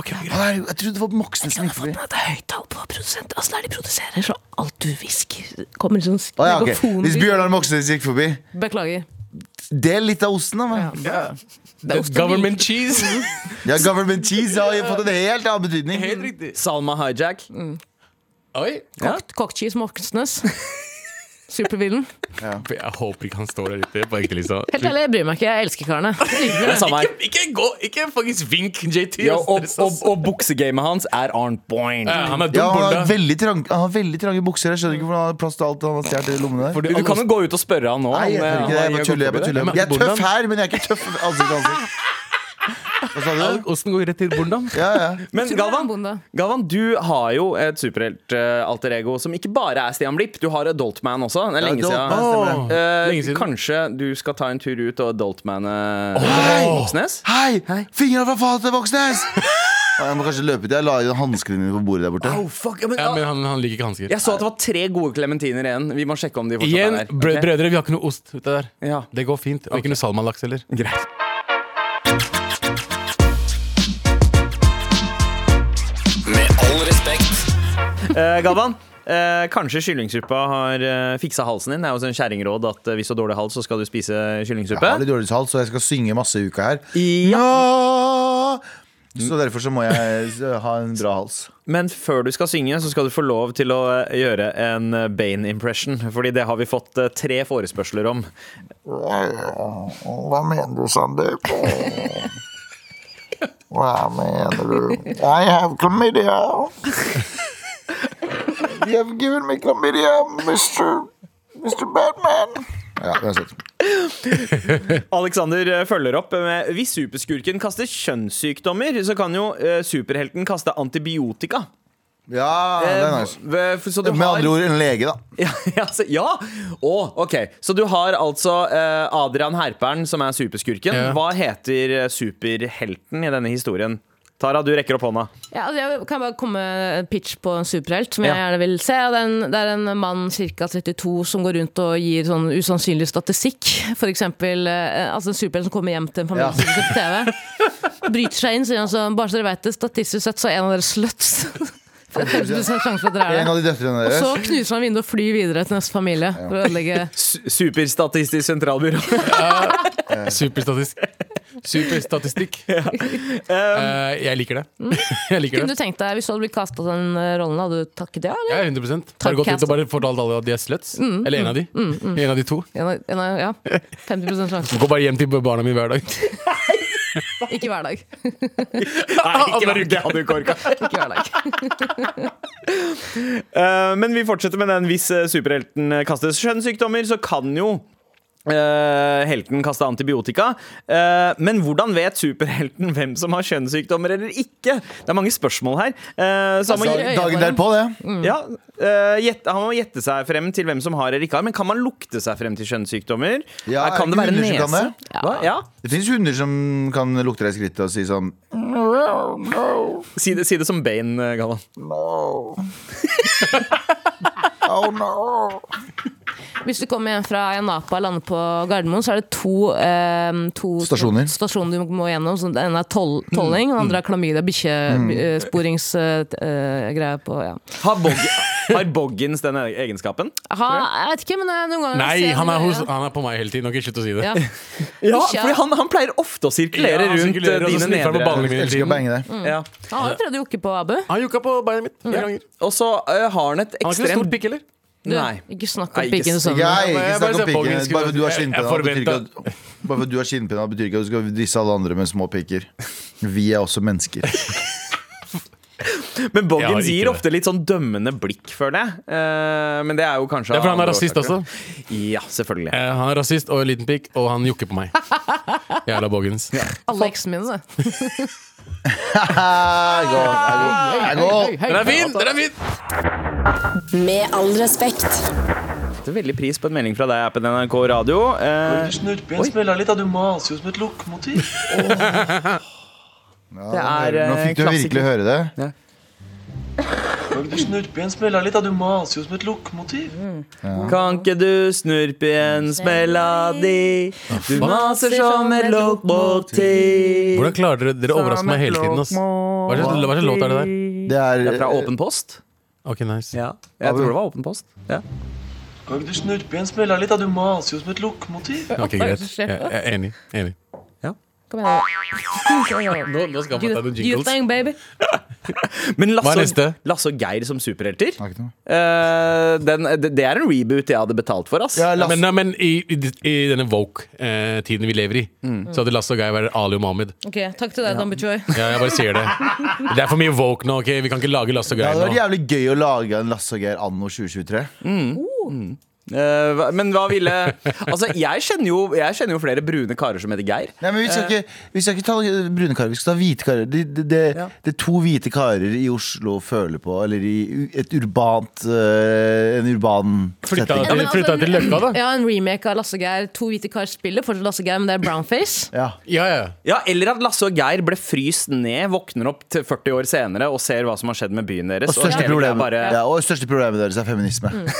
C: ok.
D: Han er jo- Jeg trodde det var Moxnes som gikk forbi.
A: Det er høyt tall på produsent. Altså, der de produserer, så alt du hvisker, kommer sånn
D: Å, ja, ok.
A: megafon-
D: Hvis Bjørnar Moxnes gikk forbi,
A: Beklager.
D: del litt av osten, da. vel?
A: Det er ofte
C: Government cheese.
D: Ja, government cheese har jo fått en helt annen betydning.
C: Helt riktig.
B: Salma Hijack.
C: Oi.
A: Kokt cockcheese Moxnes. Supervillen.
C: Jeg håper ikke han står der ute på ekte, Lisa.
A: Helt ærlig, jeg bryr meg ikke. Jeg elsker karene.
B: Det er samme her.
C: Ikke, ikke gå, ikke faktisk vink JT.
B: Ja, og,
C: ass.
B: og, og buksegamet hans er Arnt Boyne.
C: Ja, han er dum
D: Ja, han har
C: bonda.
D: veldig, trang, han har veldig trange bukser. Jeg skjønner ikke hvordan han har plass til alt han har stjålet i lommene der.
B: Du du kan jo gå ut og spørre han nå.
D: Nei, jeg
B: Han,
D: tør
B: eh,
D: ikke det. Jeg
B: han
D: bare
B: har
D: tuller. Jeg,
B: gått
D: bare
B: forbi det.
D: tuller. jeg er tøff her, men jeg er ikke tøff ansikt til ansikt. Hva sa du?
C: Osten går rett til bondaen.
D: Ja, ja.
B: Men
A: Tror du han er bonde?
B: Galvan, Galvan, du har jo et superhelt-alter ego som ikke bare er Stian Blipp. Du har Adultman også. Det er lenge
D: Ja,
B: siden.
D: Adult Man, stemmer
C: Åh.
D: det.
B: Eh,
C: Lenge siden.
B: Kanskje du skal ta en tur ut og eh, adultmane
D: hei!
B: Moxnes?
D: Hei! Fingra fra fatet, Voksnes! Ja, Jeg må kanskje løpe ut. Jeg la jo hanskene mine på bordet der borte.
B: Oh, fuck, ja, men, ah,
C: Ja, men han, han liker ikke hansker.
B: Jeg så at det var tre gode klementiner igjen. Vi må sjekke om de fortsatt
C: Igjen,
B: er der.
C: brø
B: Ok?
C: brødre, vi har ikke noe ost ute der.
B: Ja.
C: Det går fint. Og ikke noe salmalaks heller.
B: Greit.
G: Med all respekt.
B: Eh, Galvan, eh, kanskje kyllingsuppa har eh, fiksa halsen din. Det er jo sånn kjerringråd at eh, hvis du har dårlig hals, så skal du spise
D: Jeg har
B: kyllingsuppe.
D: litt dårlig hals, og jeg skal synge masse i uka her. Nå! Så derfor så må jeg eh, ha en bra hals.
B: Men før du skal synge, så skal du få lov til å eh, gjøre en eh, Bane-impression. Fordi det har vi fått eh, tre forespørsler om.
H: Hva mener du, Sandeep? Hva mener du? I have chlamydia. You have given me chlamydia, Mr. Mr. Batman.
D: Ja, uansett.
B: Alexander eh, følger opp med Hvis superskurken kaster kjønnssykdommer, så kan jo eh, superhelten kaste antibiotika.
D: Ja, det er nice.
B: Eh, Så du
D: Med
B: har-
D: andre ord en lege, da.
B: Ja! altså, ja. Å, ok. Så du har altså eh, Adrian Herperen, som er superskurken.
C: Ja.
B: Hva heter eh, superhelten i denne historien? Tara, du rekker opp hånda.
A: Ja, altså jeg kan bare komme med en pitch på en superhelt som jeg
B: Ja.
A: gjerne vil se. Og Det er en, det er en mann ca. 32 som går rundt og gir sånn usannsynlig statistikk. For eksempel, eh, altså en superhelt som kommer hjem til en familie
D: Ja.
A: som ser på TV. Bryter seg inn, sier han sånn. Bare så dere vet det, statistisk sett så er en av dere sluts. For det er 50% sjanse for at dere
D: En
A: er det.
D: av de døtrene
A: Og så
D: deres.
A: knuser han vinduet og flyr videre til neste familie. For å ødelegge
B: S Superstatistisk sentralbyrå.
C: Superstatistikk. Superstatistikk. Eh, jeg liker det. jeg
A: Mm.
C: liker
A: Kunne
C: det.
A: du tenkt deg, Hvis du hadde blitt kasta den eh, rollen, hadde du takket ja? Eller?
C: Ja, 100 Har du gått ut og bare fortalt alle at de er sluts?
A: Mm,
C: Eller en av de? En av de to?
A: En av- en av- Ja, 50 sjanse.
C: Går bare hjem til barna mine hver dag.
A: Ikke hver dag.
B: Nei, ikke
C: Alle
B: hver uke. Hadde du ikke orka.
A: Ikke hver dag.
B: Eh, men vi fortsetter med den. Hvis eh, superhelten eh, kastes kjønnssykdommer, så kan jo eh, helten kaste antibiotika. Eh, men hvordan vet superhelten hvem som har kjønnssykdommer eller ikke? Det er mange spørsmål her. Eh, så han må
A: Altså,
B: gi-
A: øya
D: Dagen
A: bare.
D: derpå, det.
B: Ja, eh, gjette, Han må gjette seg frem til hvem som har eller ikke har. Men kan man lukte seg frem til kjønnssykdommer?
D: Ja,
B: Eh, kan det
D: er
B: være
D: det ikke
B: nese?
D: hunder som kan
B: Hva? Ja.
D: Det fins hunder som kan lukte deg i skrittet og si sånn
B: Si, det, si det som Bane, eh, Galvan.
H: No. oh, no.
A: Hvis du kommer hjem fra Ayia Napa og lander på Gardermoen, så er det to, eh, to
D: Stasjoner.
A: stasjoner du må gjennom. Så den ene er toll, tolling, og den andre er klamydia, eh, bikkjesporingsgreie eh, på ja.
B: Har, bog, har Boggins den e- egenskapen?
A: ha, Jeg vet ikke, men jeg, noen ganger
C: Nei,
A: ser jeg
C: han er,
A: det,
C: hos, Ah. han er på meg hele tiden. Ok, slutt å si det.
A: ja.
B: Ja,
A: Ikke.
B: fordi han, han pleier ofte å sirkulere
C: Ja, han
B: rundt
C: sirkulerer,
B: eh,
C: og så
B: dine
C: sniffer han på
B: nedre
C: ballene mine.
D: Elsker å bange deg.
B: Ja.
A: Han har jo prøvd å jokke på Abu.
C: Han jukka på beinet mitt flere ganger.
B: Og så eh, har han et
C: Han har ikke noe
B: ekstremt
C: stort pikk heller.
A: Du,
B: Nei.
A: Ikke snakk
B: Nei,
A: om
B: ikke
A: pikken til
B: snakk.
A: sønnen
D: Nei,
A: din.
D: ikke
C: Jeg bare
D: snakk om
C: ser
D: pikken.
C: Boggins-
D: Bare fordi du
C: Jeg-
D: har
C: jeg
D: skinnpenna, betyr ikke at- bare fordi du har skinnpenna, betyr ikke at du skal disse alle andre med små pikker. Vi er også mennesker.
B: Men
C: Ja,
B: Boggins
C: ikke
B: gir
C: det.
B: ofte litt sånn dømmende blikk, føler jeg. Eh, men det er jo kanskje
C: Det er fordi han er
B: andre
C: rasist
B: årsaker.
C: også.
B: Ja, selvfølgelig.
C: Eh, han er rasist og liten pikk, og han jukker på meg. Jævla Boggins.
A: Alle eksene mine, det.
D: Ah, jeg går, jeg går, jeg går.
C: Den er fin! Den er fin!
E: Med all respekt.
B: Setter veldig pris på en melding fra deg, appen NRK Radio. Eh,
F: Bør du snu ut bensmella litt, da? Du maser jo som et lokomotiv.
B: det er
D: Nå
B: eh,
D: fikk du virkelig
B: klassiker.
D: høre det.
F: Bør du snu ut bensmella litt, da? Du maser jo som et lokomotiv.
B: Kan ikke du snurpe igjen smella di? Du maser som et lokomotiv.
C: Hvordan klarer dere Dere overrasker meg hele tiden. Ass. Hva er det- hva slags låt er det der?
D: Det er,
B: Det er fra Åpen post.
C: Ok, nice
B: Ja. Jeg tror det var Åpen post. Ja.
F: Bør du snu ut bensmella litt, da? Du maser jo som et lokomotiv.
C: Ok, greit. Jeg jeg er enig. enig.
A: Kom igjen.
C: Nå, nå skal
A: Do,
C: man ta noen
A: do you
C: jingles.
A: think, baby?
B: Men
C: Hva er
B: Lasse, og-
C: neste?
B: Lasse og Geir som superhelter,
D: Har ikke noe.
B: eh, den, det, det er en reboot jeg hadde betalt for, ass.
D: Ja, Lasse-
C: Men, nei, men i, i, i denne woke-tiden vi lever i, så hadde Lasse og Guy vært Ali og Mohammed.
A: Ok, Takk til deg, Dan Buchoy.
C: Ja, jeg bare sier det. Det er for mye woke nå. ok? Vi kan ikke lage Lasse og
D: Det
C: Guy
D: hadde vært
C: nå.
D: jævlig gøy å lage en Lasse og Geir anno 2023.
B: Eh, hva- men hva ville Altså, jeg kjenner, jo, jeg kjenner jo flere brune karer som heter Geir.
D: Nei, men vi skal, ikke, vi skal ikke ta brune karer, vi skal ta hvite karer. Det, det, det,
B: Ja.
D: det er to hvite karer i Oslo føler på, eller i u- et urbant eh, En urban
C: Flytta
D: setting.
A: men
C: til,
A: altså,
C: flytta til Løkka, da.
A: Ja, En remake av Lasse Geir. To hvite kar spiller fortsatt Lasse Geir, men det er brownface.
D: Ja.
C: Ja, ja.
B: Ja, Eller at Lasse og Geir ble fryst ned, våkner opp til 40 år senere og ser hva som har skjedd med byen deres.
D: Og største,
B: hele greia
D: problemet,
B: bare-
D: ja, og største problemet deres er feminisme.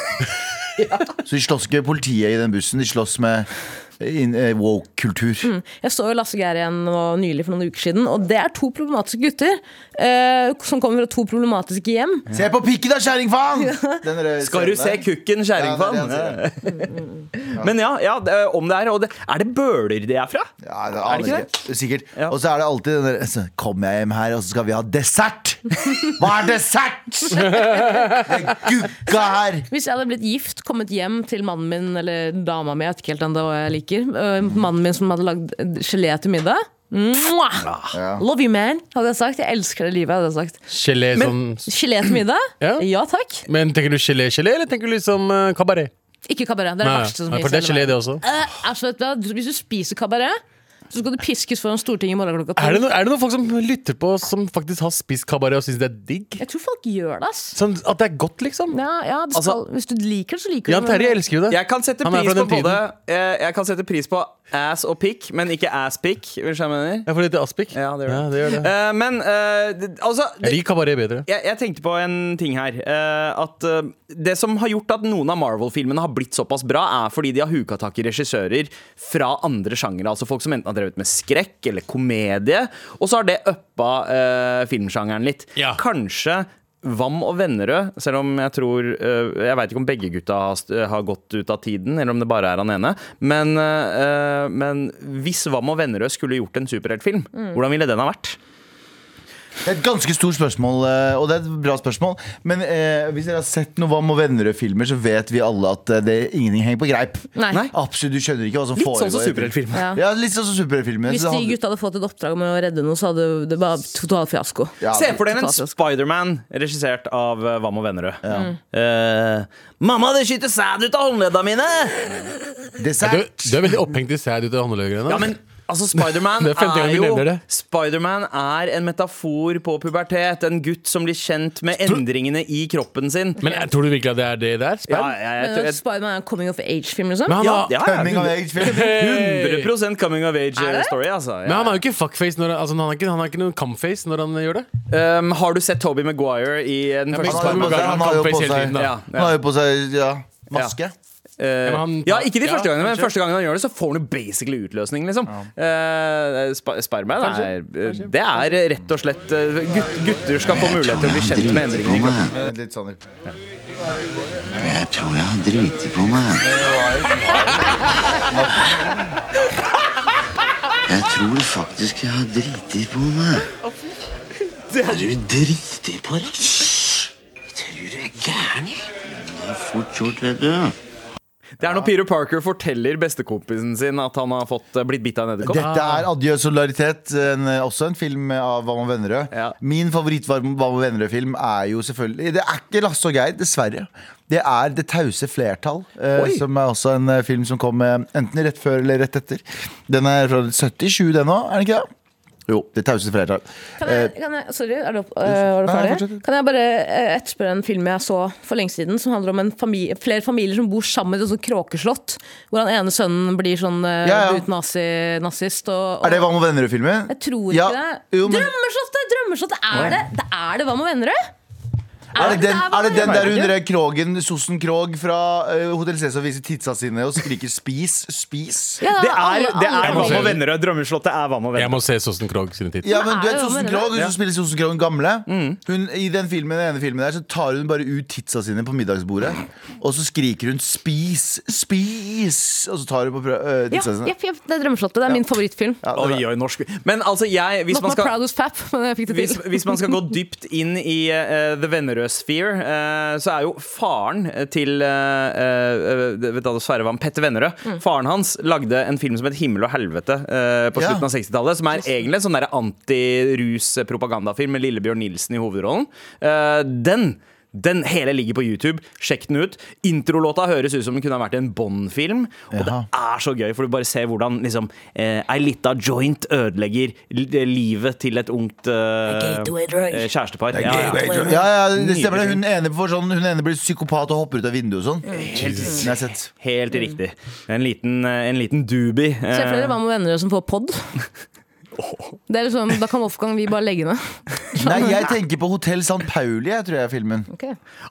D: Så de slåss ikke med politiet i den bussen, de slåss med inn- eh, woke-kultur.
A: Jeg så jo Lasse Geir igjen nå nylig for noen uker siden, og det er to problematiske gutter eh, som kommer fra to problematiske hjem.
D: Se på pikken da, kjerringfaen! Den der eh,
B: Skal du se
D: scenen der.
B: kukken,
D: Ja,
B: kjerringfan?
D: det er det
B: Men ja, ja det, om det er Og det, er det Bøler de er fra?
D: Ja, det
B: Er
D: aner
B: det
D: ikke
B: ikke
D: Sikkert.
B: Ja.
D: Og så er det alltid den der så Kommer jeg hjem her, og så skal vi ha dessert! Hva er dessert?! Den gugga her!
A: Hvis jeg hadde blitt gift, kommet hjem til mannen min eller dama mi, jeg vet ikke helt ennå hva jeg liker, øh, mannen min som hadde lagd eh, gelé til middag Mwah! Love you, man, hadde jeg sagt. Jeg elsker det livet, hadde jeg sagt.
C: Gelé sånn
A: Gelé til middag?
C: Ja.
A: Ja takk.
C: Men tenker du gelé-gelé, eller tenker du liksom eh, kabaret?
A: Ikke kabaret. Det er det verste som
C: Nei, for det er gelé, det også.
A: Eh, altså, vet du hva? Du- Hvis du spiser kabaret, så skal du piskes foran Stortinget i morgen klokka
C: Er det,
A: tolv.
C: no, er det noen folk som lytter på som faktisk har spist kabaret og syns det er digg?
A: Jeg tror folk gjør det, ass.
C: Sånn At det er godt, liksom?
A: Ja, ja, det skal, Hvis du liker det, så liker du
C: Jan
A: det.
C: Terje elsker jo det.
B: Jeg kan sette
C: Han er
B: pris
C: fra
B: på
C: den
B: både
C: tiden.
B: jeg, jeg kan sette pris på ass og pikk, men ikke ass-pikk. Hvis jeg mener
C: Jeg får litt aspik.
B: Ja, det gjør det.
C: gjør det.
B: Eh, Men eh, det- altså det-
C: Jeg liker kabaret bedre.
B: jeg, jeg tenkte på en ting her. eh, at eh, Det som har gjort at noen av Marvel-filmene har blitt såpass bra, er fordi de har huka tak i regissører fra andre sjangere. Altså folk som enten har drevet med skrekk eller komedie. Og så har det uppa eh, filmsjangeren litt.
C: Ja.
B: Kanskje Vam og Vennerød, selv om jeg tror eh, Jeg veit ikke om begge gutta har, st- har gått ut av tiden, eller om det bare er han ene. Men, eh, men hvis Vam og Vennerød skulle gjort en superheltfilm, hvordan ville den ha vært?
D: Det er et ganske stort spørsmål, eh, og det er et bra spørsmål. Men eh, hvis dere har sett noe Vam og Vennerød-filmer, så vet vi alle at eh, det, ingenting henger på greip.
A: Nei.
B: Nei.
D: Absolutt, du skjønner ikke hva som
B: Litt
D: foregår.
B: sånn som superheltfilm.
A: Ja.
D: Ja, litt sånn som superheltfilmer.
A: Hvis
D: Så
A: de
D: hadde-
A: gutta hadde fått et oppdrag med å redde noe, så hadde det bare total fiasko.
D: Ja,
B: Se for dere en
A: Fantastisk.
B: Spiderman regissert av eh, Vam og Vennerød.
C: Mm.
B: Eh, Mamma, det skyter sæd ut av håndledda mine!
C: Du,
D: Dessert!
C: du er veldig opphengt i sæd ut av håndleggerne.
B: Ja, men altså, Spiderman
C: Det er femte
B: er
C: gang vi
B: jo
C: nevner det.
B: Spiderman er en metafor på pubertet. En gutt som blir kjent med endringene i kroppen sin.
C: Men eh, tror du virkelig at det er det der?
B: Ja,
C: Sperm?
B: jeg, jeg,
A: Men
B: tror-
A: at Spiderman er en coming of age-film, liksom?
C: Men han,
B: ja,
C: har-
B: ja, ja,
D: Coming of age-film.
B: 100 coming of
A: Er det?
B: age-story, altså.
C: men
B: Ja.
C: han har jo ikke fuckface når han, altså, han, har ikke, han har ikke noen camface når han gjør det.
B: Um, har du sett Toby Maguire i eh, den
C: Ja, men
B: første
D: Han har jo
B: Spiderman?
D: på seg, han
B: ja.
C: Ja,
D: har jo på seg, han har jo på seg ja, maske.
B: Eh,
C: men han-
B: ja, ikke de
C: ja,
B: første gangene, men
C: kanskje.
B: første gangen han gjør det, så får han jo basically utløsning, liksom. Eh, Sp- Spiderman er eh, Det er rett og slett eh, gutt, Gutter skal få mulighet til å bli kjent med endringene i kroppen.
D: Vent Litt sånn.
H: Jeg tror jeg har driti på meg. Jeg tror faktisk jeg har driti på meg. Har du driti på deg? Hysj! Tror du jeg er gæren? Det er fort gjort, vet du.
B: Det er når Peter Parker forteller bestekompisen sin at han har fått eh, blitt bitt av en edderkopp.
D: Dette er Adjø solidaritet, en, også en film av Vam og Vennerød.
B: Ja.
D: Min favoritt-Vam og Vennerød-film er jo selvfølgelig Det er ikke Lasse og Geir, dessverre. Det er Det tause flertall, eh,
B: Oi.
D: som er også en eh, film som kom eh, enten rett før eller rett etter. Den er fra 77, den òg, er den ikke det? Jo. Det tause flertall.
A: Kan jeg, kan jeg, sorry, er du, opp- øh, var du
D: Nei,
A: ferdig?
D: fortsett.
A: Kan jeg bare øh, etterspørre en film jeg så for lenge siden, som handler om en familie, flere familier som bor sammen i et sånt kråkeslott, hvor den ene sønnen blir sånn øh,
D: Ja, ja.
A: nazi-nazist. Og, og
D: Er det Vam og Vennerød-filmen?
A: Jeg tror ikke
D: Ja,
A: det.
D: jo, men-
A: Drømmeslottet! Drømmeslottet! Er det det er det Hva med Vennerød?
D: Er det den,
A: der Hva
D: er det
A: med
D: den
A: Vennerød?
D: der hun der Krogen, Sossen Krog fra eh, Hotell Cæsar viser titsa sine og skriker 'spis, spis'?
A: Ja,
B: Det er,
A: alle-
B: det er
A: alle-
B: Vam og
C: alle-
B: Vennerød. Drømmeslottet er Vam og
C: Jeg
B: Vennerød.
C: må se Sosten Krog sine tider.
D: Ja, men
A: Nei,
D: du vet
A: hva
D: Sosen
A: mener
D: Krog, hun
B: Ja.
D: som spiller Sosen Krog den gamle
B: Mm.
D: hun, I den filmen, den ene filmen der Så tar hun bare ut titsa sine på middagsbordet Og så skriker hun Spis, spis Og så tar hun på prø- øh,
A: Ja,
D: titsa sine
A: jepp, jepp, det er Drømmeslottet. Det er min favorittfilm.
D: Ja, det er
B: Oi,
D: bra.
B: oi, norsk Men altså, jeg Hvis
A: Not
B: man
A: my
B: skal
A: proudest pap, men jeg fikk det
B: hvis,
A: til.
B: hvis man skal gå dypt inn i eh, The Vennerød Sphere, eh, så er jo faren til eh, eh, vet du hva, Sverre Vam, Petter Vennerød Faren hans lagde en film som het 'Himmel og helvete' eh, på
D: Ja.
B: slutten av 60-tallet. Som er egentlig en sånn der antirus-propagandafilm med Lillebjørn Nilsen i hovedrollen. Eh, den den hele ligger på YouTube. Sjekk den ut. Introlåta høres ut som den kunne ha vært i en Bond-film. Og det
D: Jaha.
B: er så gøy, for du bare ser hvordan liksom, eh, ei lita joint ødelegger li- livet til et ungt eh, eh, kjærestepar. Ja, ja.
D: ja, ja, det stemmer det Hun ene, får sånn, hun ene blir psykopat og hopper ut av vinduet og sånn Den har jeg sett
B: Helt riktig. En liten, eh, en liten doobie.
A: Mm. Se for
B: Eh,
A: dere hva med venner som får pod. Det er liksom, da kan Wolfgang vi bare legge ned.
D: Nei, jeg tenker på Hotell San Pauli, jeg tror jeg er filmen.
A: Ok.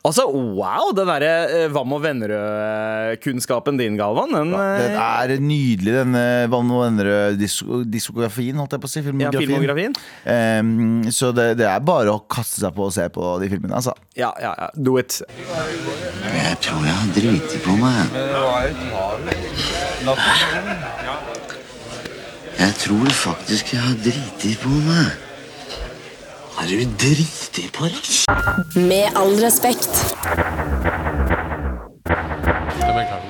B: Altså, wow, den derre eh, Vam og Vennerød-kunnskapen din, Galvan, den, eh,
D: Den er nydelig, denne Van Vennerød-diskografien, holdt jeg på å si.
B: ja,
D: Filmografien.
B: filmografien.
D: Em, Ehm, så det, det er bare å kaste seg på og se på de filmene, altså.
B: Ja, ja, ja. Do it.
H: Jeg tror jeg har driti på meg. Jeg tror faktisk jeg har driti på meg. Har du driti på deg?
E: Med all respekt.
C: Jeg beklager meg.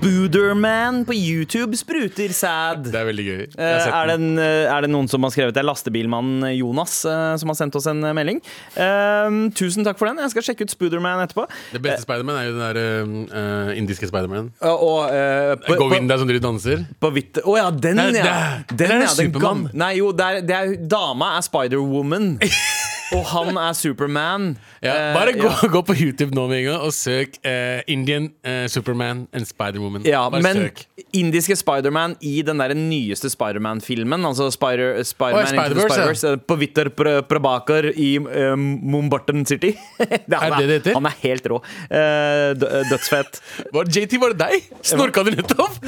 B: Booderman på YouTube spruter sad.
C: Det er veldig gøy. Jeg har
B: Eh,
C: sett
B: Er det,
C: den.
B: en, eh, er det noen som har skrevet det? er Lastebilmannen Jonas eh, som har sendt oss en eh, melding. Eh, tusen takk for den. Jeg skal sjekke ut Spooderman etterpå.
C: det beste Spiderman er jo den der eh, eh, indiske Spiderman.
B: Eh, og eh, på, på,
C: Govinda som driver og danser.
B: på hvitt Å ja, den,
C: Nei,
B: ja!
C: det-
B: Den,
C: det er
B: ja, den
C: Superman.
B: gam- Nei, jo, det er, det er, dama er Spider-Woman. Og han er Superman.
C: Ja,
B: Eh,
C: bare gå,
B: ja.
C: gå på YouTube nå med en gang og søk eh, Indian eh, Superman and Spider-Woman.
B: Ja,
C: bare
B: men
C: søk.
B: indiske Spiderman i den der nyeste Spiderman-filmen, altså Spider,
C: Å,
B: Spider-Man
C: ja,
B: Into the
C: Spider-Verse, ja.
B: Spider-Verse, eh, på Vitter Pr- Prabakar i eh, Mumbarton City. det er,
C: det det heter?
B: Han er helt rå. Eh, dø- eh, dødsfett.
C: Var, JT, var det deg? Snorka du nettopp?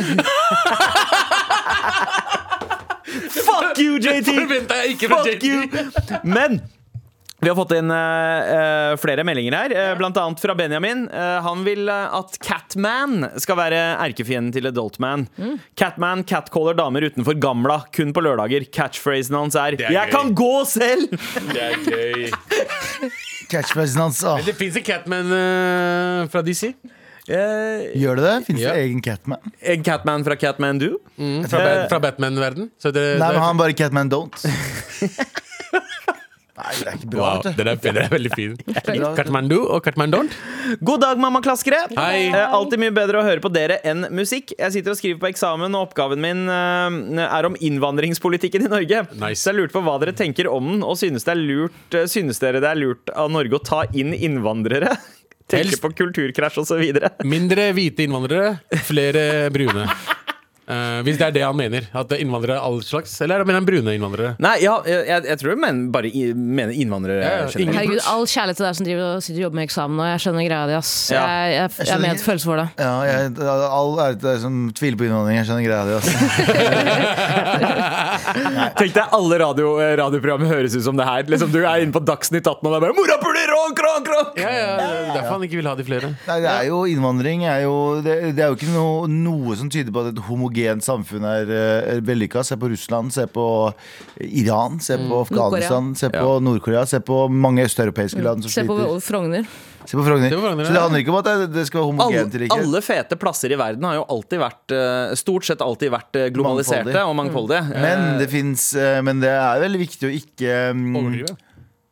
B: Fuck you, JT!
C: Forventa jeg ikke fra
B: Fuck
C: JT.
B: you! Men vi har fått inn eh, eh, flere meldinger her, eh, blant annet fra Benjamin. Eh, han vil eh, at Catman skal være erkefienden til Adultman.
C: Mm.
B: Catman catcaller damer utenfor Gamla, kun på lørdager. Catchphrasen hans er,
C: er
B: 'Jeg
C: gøy.
B: kan gå selv'!
C: Det er gøy.
D: Catchphrasen hans. Åh,
C: Det fins en Catman eh, fra DC.
B: Eh,
D: gjør det det? Fins
C: Ja.
D: det egen Catman?
B: en Catman fra Catman Do.
C: Fra, Bat- fra Batman-verden. Så det-
D: Eh. Nei,
C: det-
D: men han bare Catman Don't. Nei, det er ikke bra,
C: Wow,
D: vet du.
C: den er, den er veldig fin.
D: bra.
C: Katmandu og Katmandon.
B: God dag, mammaklaskere!
C: Hei.
B: Eh, alltid mye bedre å høre på dere enn musikk. Jeg sitter og skriver på eksamen, og oppgaven min eh, er om innvandringspolitikken i Norge.
C: Nice.
B: Så jeg lurte på hva dere tenker om den, og synes, det er lurt, eh, synes dere det er lurt av Norge å ta inn innvandrere? Tenke
C: Helst.
B: på kulturkrasj og så videre.
C: Mindre hvite innvandrere, flere brune. Eh, hvis det er det han mener. At det er innvandrere av all slags. Eller mener han brune innvandrere?
B: Nei, ja, jeg, jeg tror jeg mener, bare i, mener innvandrere
C: Ja, ja,
B: generelt.
A: Herregud, all kjærlighet til deg som driver og sitter og jobber med eksamen. Og jeg skjønner greia di, ass.
B: Ja.
A: Jeg, jeg, jeg, er med et følelse for det.
D: Ja, jeg, all ære til deg som tviler på innvandring. Jeg skjønner greia di. Altså.
B: Tenk deg alle radio, eh, radioprogrammer høres ut som det her. Liksom, du er inne på Dagsnytt 18 og det er bare 'morapuler, ronk, ronk, ronk'!
C: Ja, ja, Derfor han ikke vil ha de flere.
D: Nei, det er jo innvandring. Er jo, det, det er jo ikke noe, noe som tyder på at et homogent samfunn er eh, vellykka. Se på Russland, se på Iran, se
C: Mm.
D: på Afghanistan, se på Nord-Korea, se på mange
C: Mm.
D: østeuropeiske land som
A: Se på
D: sliter.
A: Frogner.
D: Se på Frogner.
C: Se på Frogner,
D: Så det
C: ja.
D: handler ikke om at det, det skal være
B: Alle,
D: homogent i riket.
B: alle fete plasser i verden har jo alltid vært eh, stort sett alltid vært eh, globaliserte
D: Mangfoldig. Mm.
B: og mangfoldige.
C: eh,
B: Eh,
D: Men det fins Men det er veldig viktig å ikke mm,
C: Overdrive.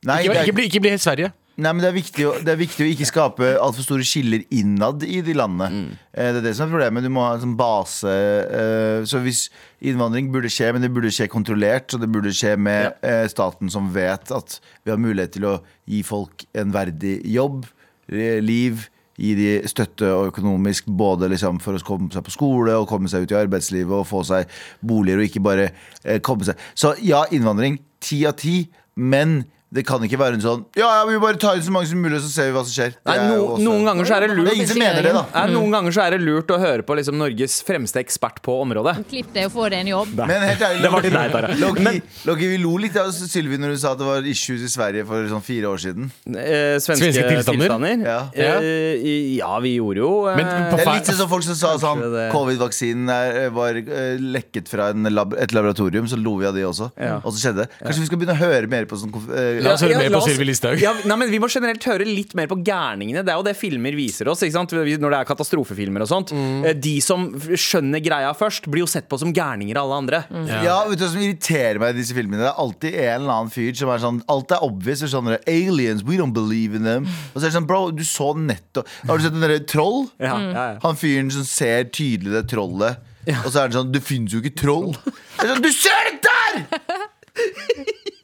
D: Nei,
C: Ikke,
D: det er,
C: ikke, bli, ikke bli helt Sverige.
D: nei men det er, viktig å, det er viktig å ikke skape altfor store skiller innad i de
C: Mm.
D: landene. Eh, Det er det som er problemet. Du må ha en sånn base eh, Så hvis innvandring burde skje, men det burde skje kontrollert, og det burde skje med eh, staten som vet at vi har mulighet til å gi folk en verdig jobb, eh, liv. Gi de støtte og økonomisk både liksom for å komme seg på skole og komme seg ut i arbeidslivet og få seg boliger og ikke bare eh, komme seg Så ja, innvandring. Ti av ti. Men det kan ikke være en sånn Ja, ja, vi bare tar inn så mange som mulig, og så ser vi hva som skjer.
B: Nei,
D: Det er jo
B: no,
D: også-
B: noen ganger så er det
D: Det er
B: lurt
D: ingen som mener det, da. Mm.
B: Nei, Noen ganger så er det lurt å høre på liksom Norges fremste ekspert på området.
I: Klipp deg og få deg en jobb.
D: Men helt ærlig,
B: Det var til deg, Tara.
D: Loki, Loki, vi lo litt av Sylvi når hun sa at det var issues i Sverige for sånn fire år siden.
B: Eh, svenske,
C: Svenske tilstander?
B: tilstander?
D: Ja.
B: Eh, i- ja, vi gjorde jo eh,
C: Men på
D: Det er
C: feil-
D: litt sånn som folk som sa sånn
B: Kanskje det-
D: Covid-vaksinen er- var eh, lekket fra en lab et laboratorium, så lo vi av det også. Og så skjedde det. Kanskje vi skal begynne å høre mer på sånn konf- eh,
C: La oss høre mer
B: la
C: på
B: oss-
C: Sylvi Listhaug.
B: Ja, nei, men vi må generelt høre litt mer på gærningene. Det er jo det filmer viser oss. Ikke sant? Vi- Når det er katastrofefilmer og sånt.
D: Mm.
B: Eh, De som f- skjønner greia først, blir jo sett på som gærninger av alle andre.
D: Ja, vet du hva som irriterer meg i disse filmene? Det er alltid en eller annen fyr som er sånn Alt er obvious. Og sånn, Aliens, we don't believe in them. Og så er det sånn, bro, du så nettopp Har du sett den derre Troll?
B: Ja, ja, ja.
D: Han fyren som ser tydelig det trollet. Og så er det sånn Det fins jo ikke troll. Det er sånn, du ser det der!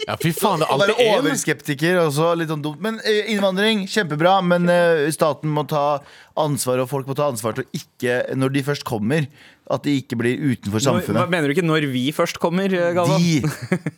C: Ja, fy faen, det er
D: Og være
C: alltid én.
D: overskeptiker og så litt sånn dumt. Men eh, innvandring, kjempebra. Men eh, staten må ta ansvar, og folk må ta ansvar til å ikke, når de først kommer At de ikke blir
B: Når,
D: utenfor
B: hva,
D: samfunnet.
B: mener du ikke når vi først kommer, eh, Galvan?
D: De!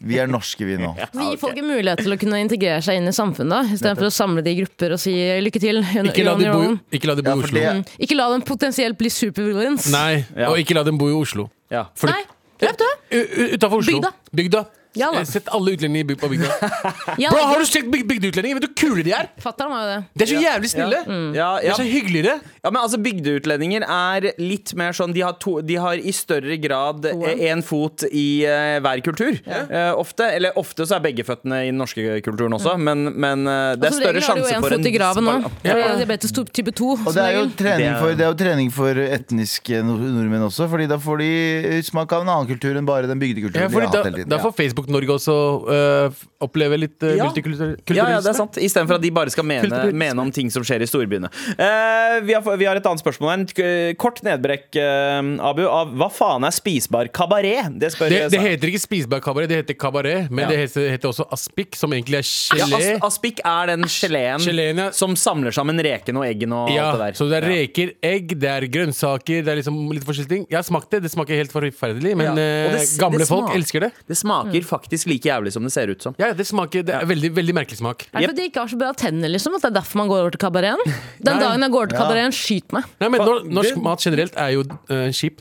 D: Vi er norske, vi nå.
A: Så Gi folk en mulighet til å kunne integrere seg inn i samfunnet, istedenfor å samle de i grupper og si lykke til. You're
C: Ikke la
A: on
C: de
A: your
C: bo,
A: own.
C: ikke la de bo
D: Ja,
C: i
D: for
C: Oslo. Mm.
D: det-
A: Ikke la dem potensielt bli supervillains.
C: Nei,
B: Ja.
C: og ikke la dem bo i Oslo.
B: Ja.
C: Fordi-
A: Nei, Løp, du!
C: U- u- Utenfor Oslo.
A: Bygda.
C: Bygda.
A: Ja, da.
C: Eh, Sett alle utlendinger i byg- på bygda.
A: Ja,
C: Bro, har du sett byg bygdeutlendinger? Vet du hvor kule de er?
A: Fatter'n var jo det.
C: De er så jævlig snille.
A: Mm.
B: Ja,
C: De
B: ja.
C: er så hyggeligere.
B: ja, men altså Bygdeutlendinger er litt mer sånn De har, to, de har i større grad én fot i eh, hver kultur. Eh, ofte. Eller ofte så er begge føttene i den norske kulturen også, men, men eh, det er
A: Som Mm. Altså, regel har
B: større
A: du jo
B: sjanse
A: en
B: for en
A: fot i graven nå.
B: dispar-
A: For det er Diabetes to- type 2.
D: Og det er jo trening
B: Det er-
D: for, det er jo trening for etniske nord- nordmenn også, Fordi da får de smak av en annen kultur enn bare den bygdekulturen
C: Ja,
D: de
C: fordi
D: har hatt hele
C: da,
D: tiden.
C: da får Facebook-Norge også øh, f- oppleve litt øh,
B: Ja.
C: multikulturalisme.
B: Ja, ja, det er sant. Istedenfor at de bare skal mene,
C: Kulturelt.
B: mene om ting som skjer i storbyene. Eh, vi, har, vi har et annet spørsmål her. En k- Kort nedbrekk, eh, Abu, av hva faen er spisbar kabaret? Det spør
C: Det, det
B: Sa-
C: heter ikke spisbar kabaret, det heter kabaret. Men
B: Ja.
C: det heter, heter også aspik, som egentlig er
B: ja,
C: gelé.
B: as, Aspik er den geleen
C: Geleen, ja.
B: som samler sammen reken og eggen og
C: Ja,
B: alt det der.
C: så det er reker, egg, det er grønnsaker, det er liksom litt forskjellige ting. Jeg har smakt det, det smaker helt forferdelig, men
B: Ja. Og
C: øh,
B: det-
C: gamle
B: det
C: folk
B: smaker-
C: elsker det.
B: Det
A: Mm.
B: smaker faktisk like jævlig som det ser ut som.
C: Ja, det smaker, det er veldig, veldig merkelig smak.
A: Er det fordi de ikke har så bra tenner, liksom? At det er derfor man går over til kabareten? Den dagen jeg går over til kabareten, skyt meg.
C: Nei, men nor norsk
B: det-
C: mat generelt er jo øh, kjip.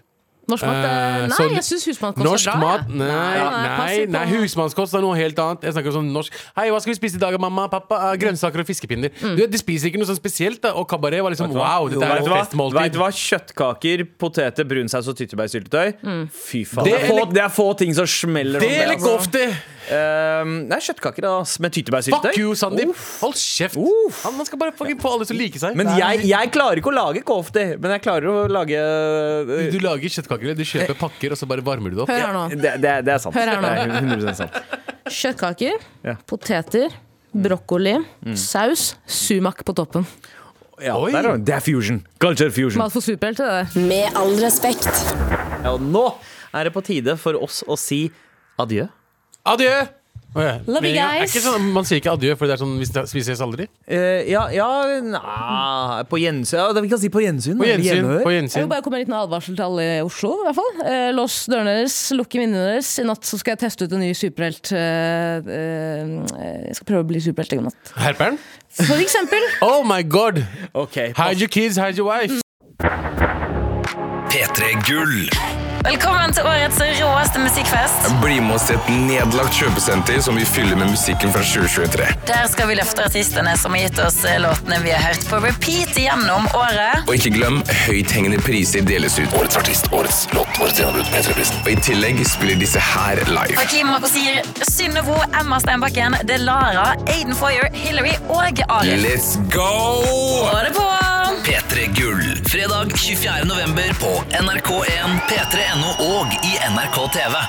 A: Norsk mat eh, Nei,
C: Eh, så-
A: jeg syns husmannskost er
C: Norsk
A: bra.
C: mat?
A: jeg.
C: Nei, nei,
A: passer på.
C: nei husmannskost er noe helt annet. Jeg snakker om sånn norsk Hei, hva skal vi spise i dag, mamma? Pappa? Ah, Grønnsaker og fiskepinner. Du, vet, de spiser ikke noe sånn spesielt, da. Og kabaret var liksom wow, dette er
B: Mm. Vet du
C: et
B: hva? Vet
C: festmåltid.
B: du hva? Kjøttkaker, poteter, brunsaus og tyttebærsyltetøy.
A: Mm.
B: Fy faen.
C: Det
B: Det er, få,
C: eller-
B: det er få ting som smeller
C: Det eller
B: som det.
C: gofte!
B: Eh, nei, kjøttkaker da, ass, med tyttebærsyltetøy.
C: Fuck you, Sandeep! Hold kjeft!
B: Uff.
C: Han, han skal bare fucking få alle til å like seg.
B: Men jeg, jeg klarer ikke å lage kofte, men jeg klarer å lage
C: Du lager kjøttkaker, du kjøper pakker, og så bare varmer du det opp.
A: Hør her nå.
B: eh, Det, det, det er sant.
A: Hør her nå.
B: Det er 100 sant.
A: Kjøttkaker,
B: Ja.
A: poteter, brokkoli, saus, sumak på toppen.
B: Ja,
C: Oi.
B: der er det. det er fusion. Culture fusion.
A: Mat for superhelter, det der.
E: Med all respekt.
B: Ja, og nå er det på tide for oss å si adjø.
C: Adjø! Å, ja.
A: Love you
C: Med en gang- er
A: guys.
C: ikke Sånn, man sier ikke adjø, for det er sånn vi sn- vi ses aldri.
B: Eh, ja, ja na, På gjensyn. Ja, det- vi kan si på gjensyn.
C: På
B: da. Vi
C: gjensyn.
B: gjenhører.
C: På
A: Jeg
C: gjensyn.
A: vil bare komme med en liten advarsel til alle i Oslo. I hvert fall. Eh, lås dørene deres, lukke vinduene deres. I natt så skal jeg teste ut en ny superhelt. Eh, eh, jeg skal prøve å bli superhelt i natt.
C: Herperen?
A: For eksempel.
C: Oh my god!
B: Ok,
C: Hide your kids, hide your wife.
I: P3 Gull.
J: Velkommen til årets råeste musikkfest.
I: Bli med oss til et nedlagt kjøpesenter som vi fyller med musikken fra 2023.
J: Der skal vi løfte artistene som har gitt oss eh, låtene vi har hørt på repeat gjennom året.
I: Og ikke glem, høythengende priser deles ut. Årets artist, årets låt, årets gjennombrudd, P3-prisen. Og i tillegg spiller disse her live.
J: Hakim sier Synnøvo, Emma Steinbakken, Delara, Aiden Foyer, Hillary og Arif.
I: Let's go!
J: Ha det på!
K: P3 Gull. Fredag 24. november på NRK1, P3.no og i NRK TV.